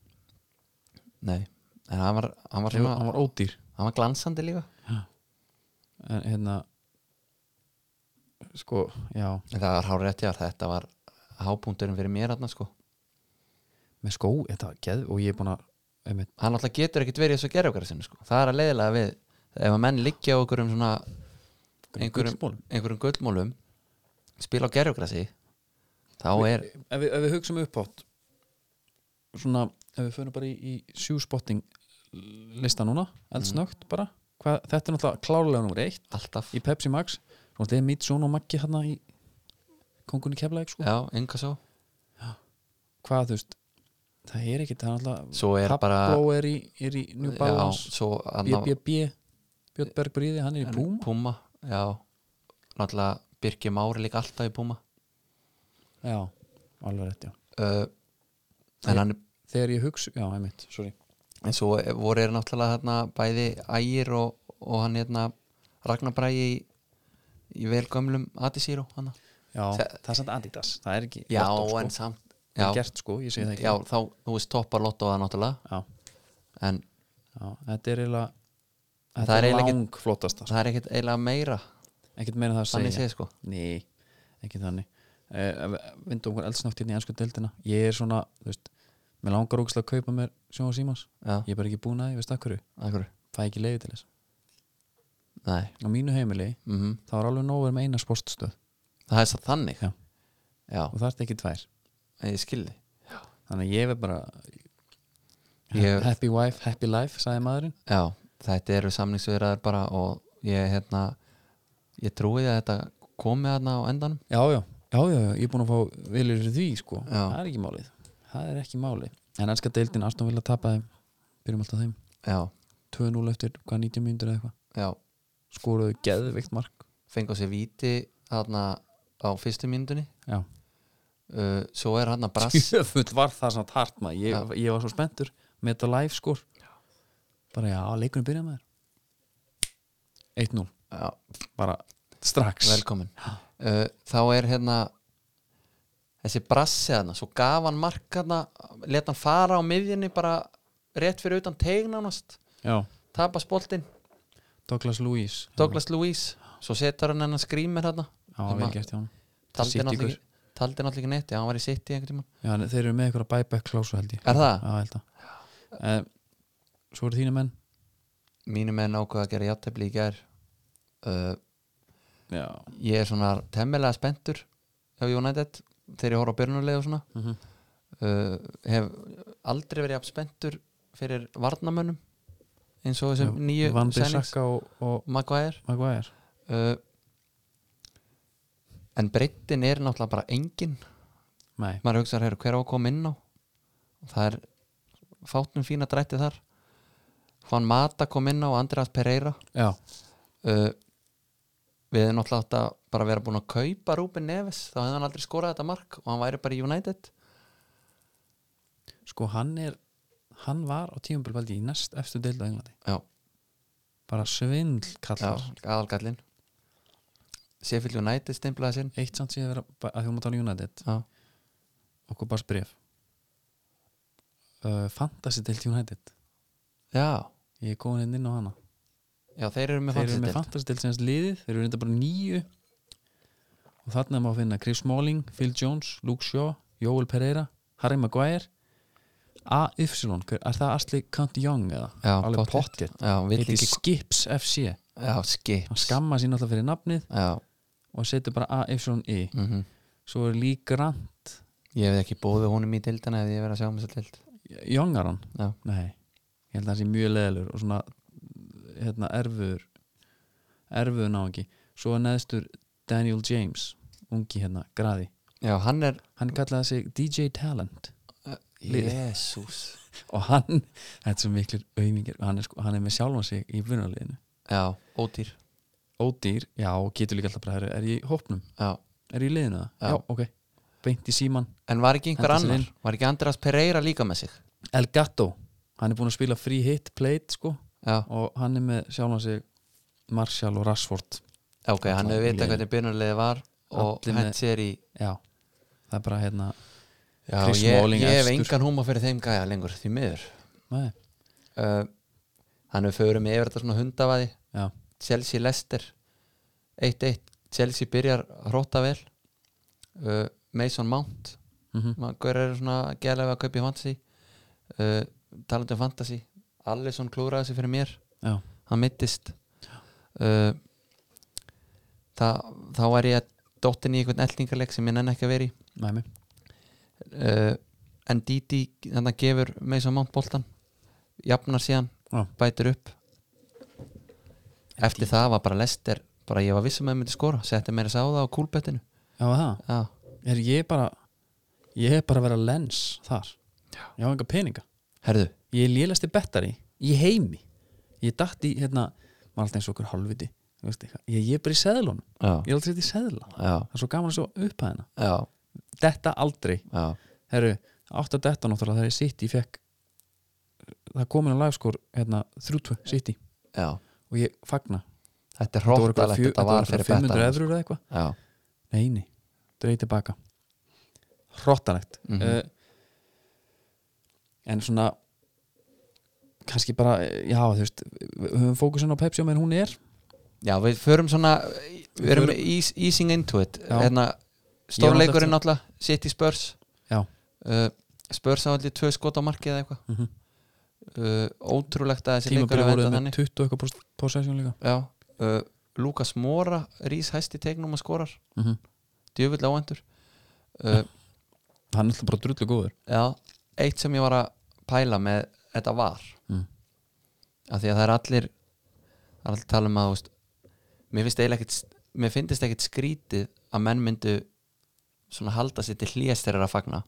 Speaker 3: nei en hann var, hann var,
Speaker 2: Ég var,
Speaker 3: svona,
Speaker 2: hann var ódýr
Speaker 3: hann var glansandi líka
Speaker 2: en hérna sko, já,
Speaker 3: en það var hár rétti að þetta var hápunkturinn fyrir mér hann sko
Speaker 2: með skó þetta var geð og ég er búin að einmitt,
Speaker 3: hann alltaf getur ekkit verið í þessu gerðugara sinni sko. það er að leiðilega við ef að menn liggja á einhverjum svona einhverjum,
Speaker 2: gullmálum.
Speaker 3: einhverjum gullmólum spila á gerðugrasi þá er
Speaker 2: ef, við, ef við hugsum upp átt svona, ef við fyrir bara í, í sjúspotting lista núna
Speaker 3: Mhm.
Speaker 2: eldsnögt bara, Hvað, þetta er náttúrulega klárlega númer eitt
Speaker 3: alltaf
Speaker 2: í Pepsi Max og þetta er mitt svona og Maggi hérna í kongunni keflaðið sko
Speaker 3: já, enga svo
Speaker 2: hvað þú veist, það er ekkit það er náttúrulega
Speaker 3: svo er bara
Speaker 2: Pablo er í, er í New
Speaker 3: já,
Speaker 2: Balance
Speaker 3: svo anna,
Speaker 2: BBB Björn Bergbríði, hann er í Puma
Speaker 3: Puma já, náttúrulega Birgir Mári líka alltaf í Puma
Speaker 2: já, alveg rétt, já
Speaker 3: uh,
Speaker 2: Nei.
Speaker 3: en hann
Speaker 2: þegar ég hugsa, já, einmitt, sorry
Speaker 3: en svo voru er náttúrulega hérna, bæði ægir og, og hann hérna Ragnar Bræi í, í velgömlum Adisíru hann
Speaker 2: já,
Speaker 3: Se-
Speaker 2: það er samt Adidas, það er ekki
Speaker 3: já,
Speaker 2: Lotto, sko.
Speaker 3: en samt
Speaker 2: Það
Speaker 3: já,
Speaker 2: er gert sko, ég segi það ekki
Speaker 3: já, þá, þú veist, toppar Lotto það náttúrulega
Speaker 2: já,
Speaker 3: en
Speaker 2: já, þetta er eiginlega
Speaker 3: Það
Speaker 2: þetta
Speaker 3: er
Speaker 2: er
Speaker 3: eiginlega ekki-
Speaker 2: langflottasta sko.
Speaker 3: það er ekkit eiginlega meira
Speaker 2: ekkert meina það að
Speaker 3: þannig
Speaker 2: segja
Speaker 3: séð sko
Speaker 2: ný, ekki þannig uh, vindu okkur eldsnátt hérna í ennsku deildina ég er svona, þú veist mér langar ógislega að kaupa mér Sjón og Símans
Speaker 3: já,
Speaker 2: ég er bara ekki búin að, því, veist það hverju
Speaker 3: af hverju?
Speaker 2: fæ ekki leiði til þess
Speaker 3: Nei,
Speaker 2: á mínu heimili,
Speaker 3: mm
Speaker 2: þá er alveg nóver með eina sportstöð
Speaker 3: það er satt þannig
Speaker 2: Já.
Speaker 3: já,
Speaker 2: og það er ekki tvær
Speaker 3: en ég skilði
Speaker 2: þannig að ég er bara
Speaker 3: Ég-
Speaker 2: happy wife, happy life, sagði maðurinn
Speaker 3: já, þetta eru samningsverðar bara og ég hérna ég trúi að þetta komi þarna á endanum
Speaker 2: já, já, já, já, já, ég er búin að fá viljur fyrir því, sko,
Speaker 3: Já.
Speaker 2: það er ekki málið það er ekki málið, en ennska deildin Aston vilja tapa þeim, byrjum alltaf þeim
Speaker 3: já,
Speaker 2: 2-0 eftir, hvað, 90 mínútur eða eitthvað
Speaker 3: já,
Speaker 2: skoruðu geðveikt mark
Speaker 3: fengu á sér víti þarna á fyrstu myndunni
Speaker 2: já,
Speaker 3: uh, svo er hann að brass
Speaker 2: Sjöfull var það samt hart maður ég,
Speaker 3: Já.
Speaker 2: ég var svo spenntur með þetta live skor sko. Bara já, leikunum byrja maður 1-0
Speaker 3: Já,
Speaker 2: Bara strax
Speaker 3: velkomin uh, þá er hérna þessi brassi hann svo gaf hann mark hann let hann fara á miðjunni bara rétt fyrir utan tegnanast
Speaker 2: Já,
Speaker 3: tapas boltinn,
Speaker 2: Douglas Lewis
Speaker 3: Douglas Lewis svo setur hann hennar skrýmir hann
Speaker 2: Já, vel gert hjá hann
Speaker 3: taldi
Speaker 2: City
Speaker 3: náttúrulega
Speaker 2: gaur.
Speaker 3: ekki- taldi náttúrulega ekki neitt, já, hann var í sitt í einhvern tímann
Speaker 2: Já, en þeir eru með einhverja buyback klásu held ég
Speaker 3: er það?
Speaker 2: Já, held að um, Svo eru þína menn
Speaker 3: mínu menn ákveða að gera játtöfli í gær uh,
Speaker 2: Já
Speaker 3: ég er svona temmilega spenntur á United þegar ég horf á byrnuleg og svona
Speaker 2: mm
Speaker 3: uh, hef aldrei verið jafn spenntur fyrir varnamönnum eins og þessum nýju
Speaker 2: Van
Speaker 3: sennings
Speaker 2: Bissaka og, og
Speaker 3: Maguire
Speaker 2: Maguire
Speaker 3: uh, en breyttin er náttúrulega bara engin
Speaker 2: Nei,
Speaker 3: maður hugsaður hér hver á að koma inn á og það er fátnum fína drætti þar Juan Mata kom inn á og Andreas Pereira
Speaker 2: já,
Speaker 3: uh, við hefum náttúrulega átt að bara vera búin að kaupa Ruben Neves þá hefði hann aldrei skorað þetta mark og hann væri bara í United
Speaker 2: sko hann er Hann var á tíumbilbaldi í næst eftir deildu á Englandi
Speaker 3: já,
Speaker 2: Bara svindl
Speaker 3: já,
Speaker 2: kallar
Speaker 3: aðalgallin Sheffield United stimplaði sinn
Speaker 2: Eitt samt síðan vera, að því hún tala um United
Speaker 3: já,
Speaker 2: Okkur bara spref uh, Fantasy deild United
Speaker 3: já,
Speaker 2: Ég er góðin inn á hana
Speaker 3: já þeir eru með
Speaker 2: Þeir eru
Speaker 3: fantasy
Speaker 2: með
Speaker 3: deild.
Speaker 2: fantasy deild sem hans liðið Þeir eru reynda bara nýju Og þarna má finna Chris Smalling, Phil Jones, Luke Shaw Joel Pereira, Harry Maguire AY, hver- er það Asli Kant Young eða?
Speaker 3: já,
Speaker 2: Alveg pottet
Speaker 3: já, vill
Speaker 2: Heiti
Speaker 3: ekki
Speaker 2: Skips FC
Speaker 3: já, skip
Speaker 2: Hann skamma sín alltaf fyrir nafnið
Speaker 3: já,
Speaker 2: og setur bara AY
Speaker 3: mhm
Speaker 2: Svo er Lee Grant
Speaker 3: Ég hef ekki bóðið honum í dildina ef ég verið að sjá um þessa dild
Speaker 2: Youngar hann?
Speaker 3: Já.
Speaker 2: Nei, ég held að hann sé mjög leðalur og svona hérna, erfur erfur ná ekki svo er neðstur Daniel James ungi hérna, graði
Speaker 3: Já, hann er
Speaker 2: hann kallaði sig DJ Talent Liðið.
Speaker 3: Jésús
Speaker 2: og hann, þetta er svo miklir auðmingir hann, er sko, hann er með sjálfan sig í vunarleginu
Speaker 3: Já, ódýr
Speaker 2: ódýr, já, og getur líka alltaf bara er, er ég í hópnum,
Speaker 3: já.
Speaker 2: er ég í liðinu það?
Speaker 3: Já.
Speaker 2: já, ok, beint í síman
Speaker 3: En var ekki einhver
Speaker 2: Hendur sér
Speaker 3: annar?
Speaker 2: inn.
Speaker 3: Var ekki Andreas Pereira líka með sig?
Speaker 2: El Gato, hann er búin að spila free hit plate sko,
Speaker 3: Já,
Speaker 2: og hann er með sjálfan sig Marshall og Rashford
Speaker 3: Já, ok, hann hefur vitað hvernig byrjunarliðið var og
Speaker 2: Allir með-
Speaker 3: henn sér í
Speaker 2: Já, það er bara hérna
Speaker 3: Já,
Speaker 2: Chris
Speaker 3: ég,
Speaker 2: Smalling
Speaker 3: ég hef
Speaker 2: efstur.
Speaker 3: engan húma fyrir þeim gæja lengur, því miður
Speaker 2: Nei,
Speaker 3: uh, Hann hefur fyrir mig yfir þetta svona hundavaði
Speaker 2: já,
Speaker 3: Chelsea Lester 1-1, Chelsea byrjar hróta vel uh, Mason Mount
Speaker 2: mm
Speaker 3: Hver er svona gæðlega að kaupa í fantasy uh, talandi um fantasy Allison klúraði sig fyrir mér
Speaker 2: já
Speaker 3: hann mittist uh, það, þá var ég dóttin í einhvern eldingarleik sem ég nenni ekki að veri
Speaker 2: Næmi,
Speaker 3: uh, en Didi þannig að gefur Mason Mount boltan jafnar síðan,
Speaker 2: Já.
Speaker 3: bætir upp eftir það var bara lester bara ég var vissum að það myndi skora setti meira sá það á kúlbettinu
Speaker 2: já var það
Speaker 3: já,
Speaker 2: Er ég bara Ég hef bara verið að lens þar Já Ég hafa enga peninga
Speaker 3: herðu,
Speaker 2: Ég er lélasti bettari í heimi Ég datt í hérna Maður alltaf eins og okkur hálfviti þú veist eitthvað. Ég, ég er bara í seðlunum Ég
Speaker 3: já,
Speaker 2: er aldrei þetta í seðla
Speaker 3: já,
Speaker 2: Það er svo gaman að svo upphæðina
Speaker 3: já,
Speaker 2: Detta aldrei
Speaker 3: já.
Speaker 2: Herru, átt að detta náttúrulega þegar ég sitt í fekk Það komin að lagskor hérna 3-2 sitt í
Speaker 3: já.
Speaker 2: og ég fagna
Speaker 3: þetta er
Speaker 2: Þetta voru eitthvað
Speaker 3: hróttalegt
Speaker 2: fjö-
Speaker 3: þetta var
Speaker 2: eitthvað
Speaker 3: fyrir
Speaker 2: 500
Speaker 3: bettara sko.
Speaker 2: efrur eða eitthvað
Speaker 3: já,
Speaker 2: Nei, nei, dreig tilbaka Hróttanlegt mm
Speaker 3: Mhm.
Speaker 2: En svona kannski bara, eh, já þú veist við höfum fókusin á Pepsi á meðan hún er
Speaker 3: já, við förum svona við erum
Speaker 2: förum-
Speaker 3: ís, easing into it
Speaker 2: Já.
Speaker 3: hérna, stórleikurinn náttúrulega City Spurs
Speaker 2: Já.
Speaker 3: uh, Spurs hafa allir tvö skot á markið eða eitthvað
Speaker 2: mm -hmm.
Speaker 3: uh, ótrúlegt að þessi leikur
Speaker 2: Tímabili
Speaker 3: að
Speaker 2: voruð
Speaker 3: venda
Speaker 2: með
Speaker 3: þannig
Speaker 2: 20 eitthvað pros- possession líka
Speaker 3: já, uh, Lukas Mora rís hæsti tegnum að skorar
Speaker 2: mm -hmm.
Speaker 3: djöfull áendur uh,
Speaker 2: Hann er alltaf bara drullu góður
Speaker 3: já, eitt sem ég var að pæla með þetta var
Speaker 2: Mm.
Speaker 3: af því að það er allir það er allir að tala um að þú veist, mér finnst eiginlega ekkit mér finnst ekkit skrítið að menn myndu svona halda sér til hlýjast þegar þeir eru að fagna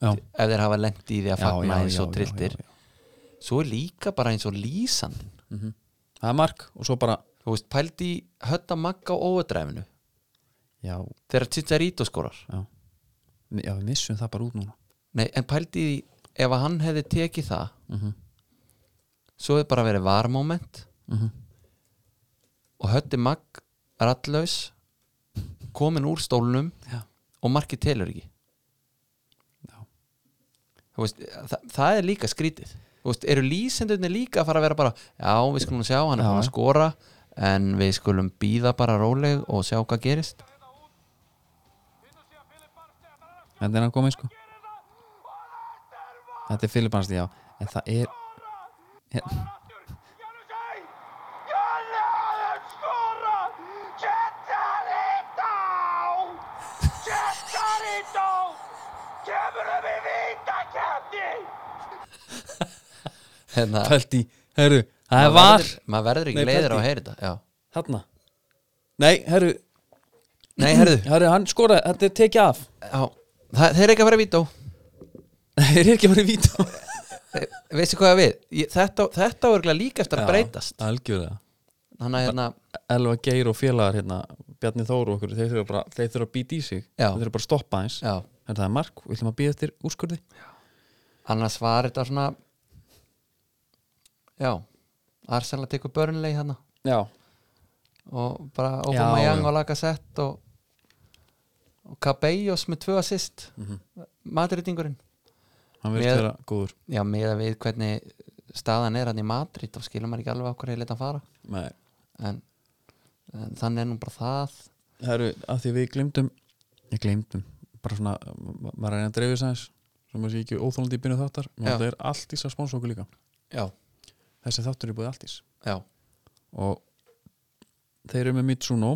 Speaker 2: Já,
Speaker 3: ef þeir hafa lent í því að fagna eins og trilltir
Speaker 2: já, já.
Speaker 3: svo er líka bara eins og lýsandin
Speaker 2: Mhm. Það er mark og svo bara
Speaker 3: þú veist, pældi í hötta magga á óverdræfinu
Speaker 2: Já,
Speaker 3: þegar Chicharito skorar
Speaker 2: já já, við missum það bara út núna
Speaker 3: Nei, en pældi því ef að hann hefði tekið það
Speaker 2: mm -hmm.
Speaker 3: svo hefði bara verið varmoment
Speaker 2: Mm
Speaker 3: og hötti magg rattlaus komin úr stólnum
Speaker 2: Já.
Speaker 3: og markið telur ekki
Speaker 2: Já.
Speaker 3: Þú veist, það, það er líka skrítið Þú veist, eru lýsendurnir líka að fara að vera bara já, við skulum sjá, hann er
Speaker 2: Já,
Speaker 3: búin að
Speaker 2: já.
Speaker 3: skora en við skulum býða bara róleg og sjá hvað gerist
Speaker 2: Þetta er hann komið sko Þetta er Filip Hansi, já En það er Hér-
Speaker 3: hérna,
Speaker 2: Pældi, herru, það
Speaker 3: maður
Speaker 2: var
Speaker 3: verður- maður verður ekki
Speaker 2: Nei,
Speaker 3: leiður á
Speaker 2: pældi.
Speaker 3: að heyra þetta já.
Speaker 2: Þarna Nei, herru,
Speaker 3: nei, herðu,
Speaker 2: herru, hann skoraði, þetta er tekið af
Speaker 3: já, það, þeir eru ekki að fara að víta á
Speaker 2: Þeir eru ekki að fara í vító
Speaker 3: veistu hvað við, ég, þetta, þetta er örugglega líka eftir að breytast
Speaker 2: Algjörlega
Speaker 3: þannig að hérna,
Speaker 2: Elva Geir og félagar hérna Bjarni Þór og okkur, þeir þurfa bara Þeir þurfa að býta í sig
Speaker 3: Já.
Speaker 2: Þeir þurfa bara að stoppa eins
Speaker 3: já
Speaker 2: En það er mark, við ætlum að býða eftir úrskurði
Speaker 3: annars var þetta svona já Arsenal tekur börnlegi hana
Speaker 2: Já,
Speaker 3: og bara
Speaker 2: Já,
Speaker 3: Obama Young
Speaker 2: já.
Speaker 3: og laga sett og, og Cabellos með tvö assist mm Madridingurinn
Speaker 2: hann verður
Speaker 3: Mér-
Speaker 2: vera góður
Speaker 3: já, með að við hvernig staðan er hann í Madrid og skilum maður ekki alveg á hverju ég leta að fara
Speaker 2: Nei,
Speaker 3: en, en þannig er nú bara það
Speaker 2: herru, að því við glemdum Ég glemdum, bara svona ma- Maður er að reyna að dreifis aðeins Svo maður sé ekki óþólandi í byrju þáttar
Speaker 3: Já.
Speaker 2: Það er allt ís að sponsa okkur líka
Speaker 3: já,
Speaker 2: Þessi þáttur er búið allt ís
Speaker 3: já,
Speaker 2: Og þeir eru með Mitsuno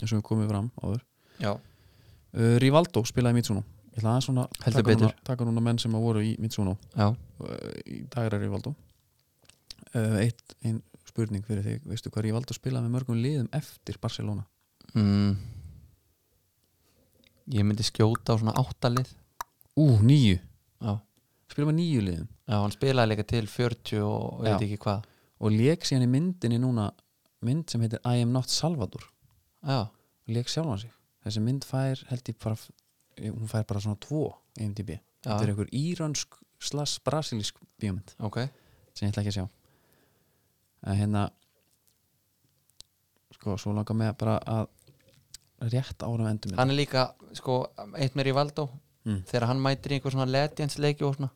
Speaker 2: eins og við komum fram áður
Speaker 3: já
Speaker 2: uh, Rivaldo spilaði Mitsuno Ég ætla aðeins svona
Speaker 3: Heldur
Speaker 2: taka núna,
Speaker 3: betur.
Speaker 2: taka núna menn sem að voru í Mitsuno
Speaker 3: já,
Speaker 2: uh, í dag er Rivaldo uh, eitt, ein spurning fyrir þig veistu hvað Rivaldo spilaði með mörgum liðum eftir Barcelona
Speaker 3: mm. ég myndi skjóta á svona áttalið
Speaker 2: ú, nýju,
Speaker 3: já,
Speaker 2: spilaði með nýju liðum
Speaker 3: já, hann spilaði líka til 40 og
Speaker 2: Já.
Speaker 3: veit ekki hvað
Speaker 2: og lék síðan í myndinni núna mynd sem heitir I am not Salvador
Speaker 3: já,
Speaker 2: og lék sjálfan sig þessi mynd fær, held ég bara hún fær bara svona tvo í IMDb þetta er einhver íransk slags brasilísk bíómynd
Speaker 3: ok
Speaker 2: sem ég ætla ekki að sjá en hérna sko, svo langar mig bara að rétt ára endum
Speaker 3: hann er líka, sko, eitt mér í Valdó
Speaker 2: Mm.
Speaker 3: þegar hann mætir í einhver svona legends leiki og svona,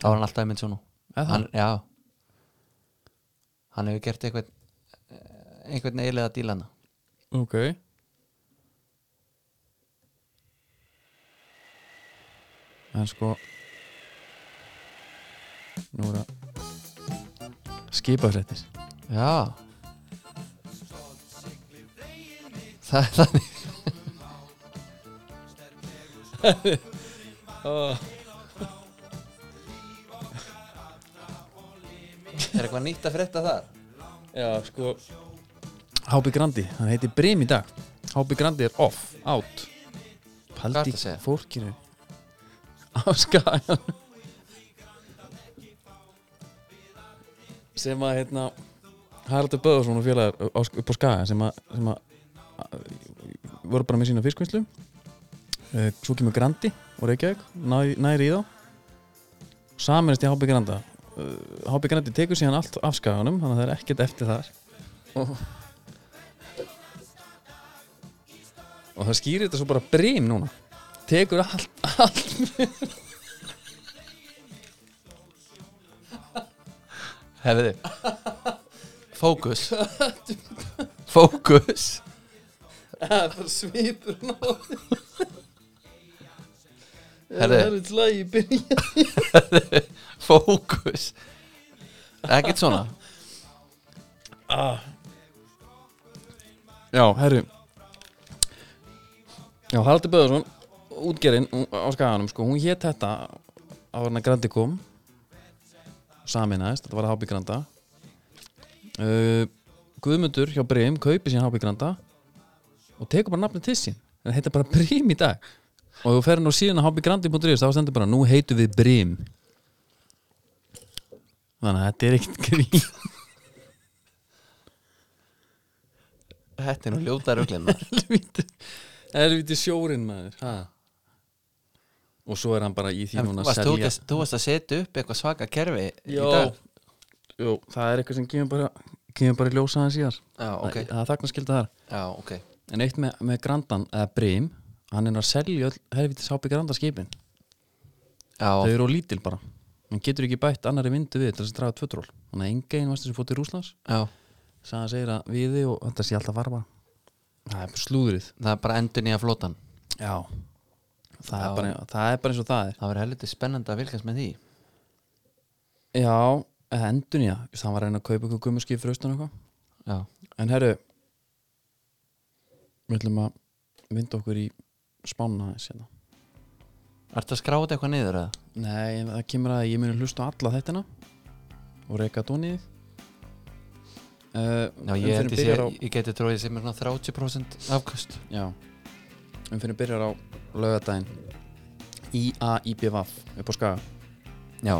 Speaker 3: þá er hann alltaf í mynd svona
Speaker 2: Eða?
Speaker 3: hann, já hann hefur gert einhvern einhvern eiginlega dílana
Speaker 2: ok en sko nú er að skipafréttis
Speaker 3: já það er þannig er eitthvað nýtt að frétta þar?
Speaker 2: já sko Hápi Grandi, hann heitir Brim í dag Hápi Grandi er off, out
Speaker 3: Hvað ertu
Speaker 2: Paldi
Speaker 3: að segja?
Speaker 2: fólkinu á skagan sem að hérna Haraldur Böðarsson og félagar á- á- upp á skaga sem að, sem að, að voru bara með sína fiskvinnslu Eh, svo kemur Grandi og Reykjavík næ- næri í þá saminist í Hápi Granda Eh, Hápi Grandi tekur síðan allt af skaganum þannig að það er ekkert eftir þar og, og það skýrir þetta svo bara brim núna tekur allt, allt
Speaker 3: Hefði Fókus Fókus
Speaker 2: það er bara svipur náði
Speaker 3: Herri.
Speaker 2: er eitt lag í byrja
Speaker 3: Fókus Ekkert svona
Speaker 2: Já, herru Já, Haraldur Böðarsson útgerinn hún- á skaganum sko, hún hét þetta á hann að Grandi kom saminaðist, þetta var að Hápi Granda uh, Guðmundur hjá Brim kaupi sín Hápi Granda og tekur bara nafnið til sín en heitir bara Brim í dag og þú ferð nú síðan að hápigrandi.is þá stendur bara, nú heitum við Brim þannig að þetta er ekkert grín
Speaker 3: Þetta er nú ljóta ruglinnar
Speaker 2: helviti, helviti sjórin maður ha. og svo er hann bara í því
Speaker 3: En
Speaker 2: núna að
Speaker 3: varst þú, ekki
Speaker 2: selja
Speaker 3: að, þú varst að setja upp eitthvað svaka kerfi í
Speaker 2: Jó,
Speaker 3: dag
Speaker 2: Jó, það er eitthvað sem kemur bara, kemur bara í ljósa hans síðar
Speaker 3: Já, ok,
Speaker 2: það, það er þagnaskylda þar
Speaker 3: já, ok
Speaker 2: en eitt með, með grandan, eða Brim hann er að selja öll helvitis hápi grandaskipin þau
Speaker 3: Já,
Speaker 2: eru á lítil bara hann getur ekki bætt annari vindu við til þess að draga tvö tról þannig að enga einn varstu sem fótt í Rúslands
Speaker 3: já,
Speaker 2: sagði hann segir að viði og þetta sé alltaf varma það er bara slúðrið
Speaker 3: það er bara endur nýja flótan
Speaker 2: já það,
Speaker 3: Já.
Speaker 2: Er bara, það er bara eins og það er
Speaker 3: Það verður heldur spennandi að vilkast með því
Speaker 2: já, eða endun já það var að reyna að kaupa eitthvað gummuskip fyrir austan og eitthvað
Speaker 3: Já,
Speaker 2: en herru við ætlum að vinda okkur í spána aðeins hérna
Speaker 3: ertu að skráta eitthvað niður eða?
Speaker 2: nei, en það kemur að ég muni hlusta á alla þættina og reyka dónið uh,
Speaker 3: Já, ég, held ég, sé, ég geti tróðið sem er svona 30% afkast
Speaker 2: Já En fyrir byrjar á laugardaginn I-A-I-B-V-A-F upp á skaga
Speaker 3: Já,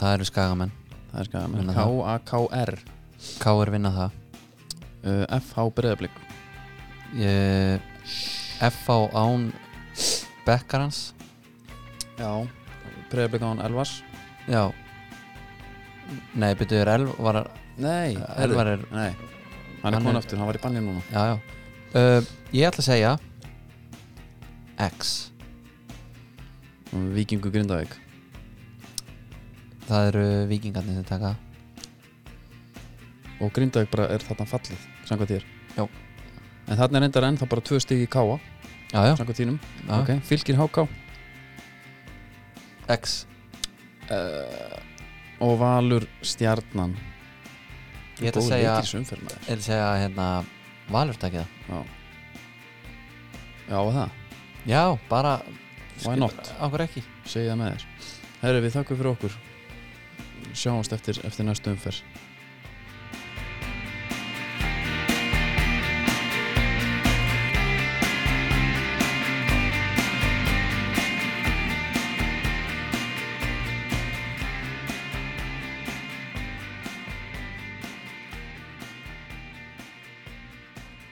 Speaker 3: það eru skagamenn
Speaker 2: Það er skaga með
Speaker 3: Vinna það.
Speaker 2: K-A-K-R
Speaker 3: K.R. vinna það
Speaker 2: uh, F-H breyðablík
Speaker 3: ég, F.A. án Bekkarans
Speaker 2: Já Breyðablík án Elvars
Speaker 3: Já Nei, betur er elv var,
Speaker 2: Nei heyrðu.
Speaker 3: Elvar er
Speaker 2: Nei Hann er
Speaker 3: Hann
Speaker 2: komin
Speaker 3: er-
Speaker 2: aftur, hann var í bannið núna
Speaker 3: Já, já uh, Ég ætla að segja X
Speaker 2: Víkingu Grindavík
Speaker 3: Það eru vikingarnir sem taka
Speaker 2: Og Grindavík bara er þarna fallið Samkvæmt þér
Speaker 3: Já.
Speaker 2: En þarna er endar ennþá bara tvö stig í K-A
Speaker 3: Já, já,
Speaker 2: Samkvæmt þínum
Speaker 3: já.
Speaker 2: Ok Fylgir H-K
Speaker 3: X
Speaker 2: Og Valur Stjarnan
Speaker 3: Ég ætla að
Speaker 2: Góður
Speaker 3: segja,
Speaker 2: leikir í þessu umferð, maður.
Speaker 3: ég ætla að segja hérna, Valur takið það
Speaker 2: Já Já og það,
Speaker 3: Já, bara
Speaker 2: Why not?
Speaker 3: Okkur ekki
Speaker 2: segi það með þér Herri við þakkum fyrir okkur Sjáumst eftir, eftir næstu umferð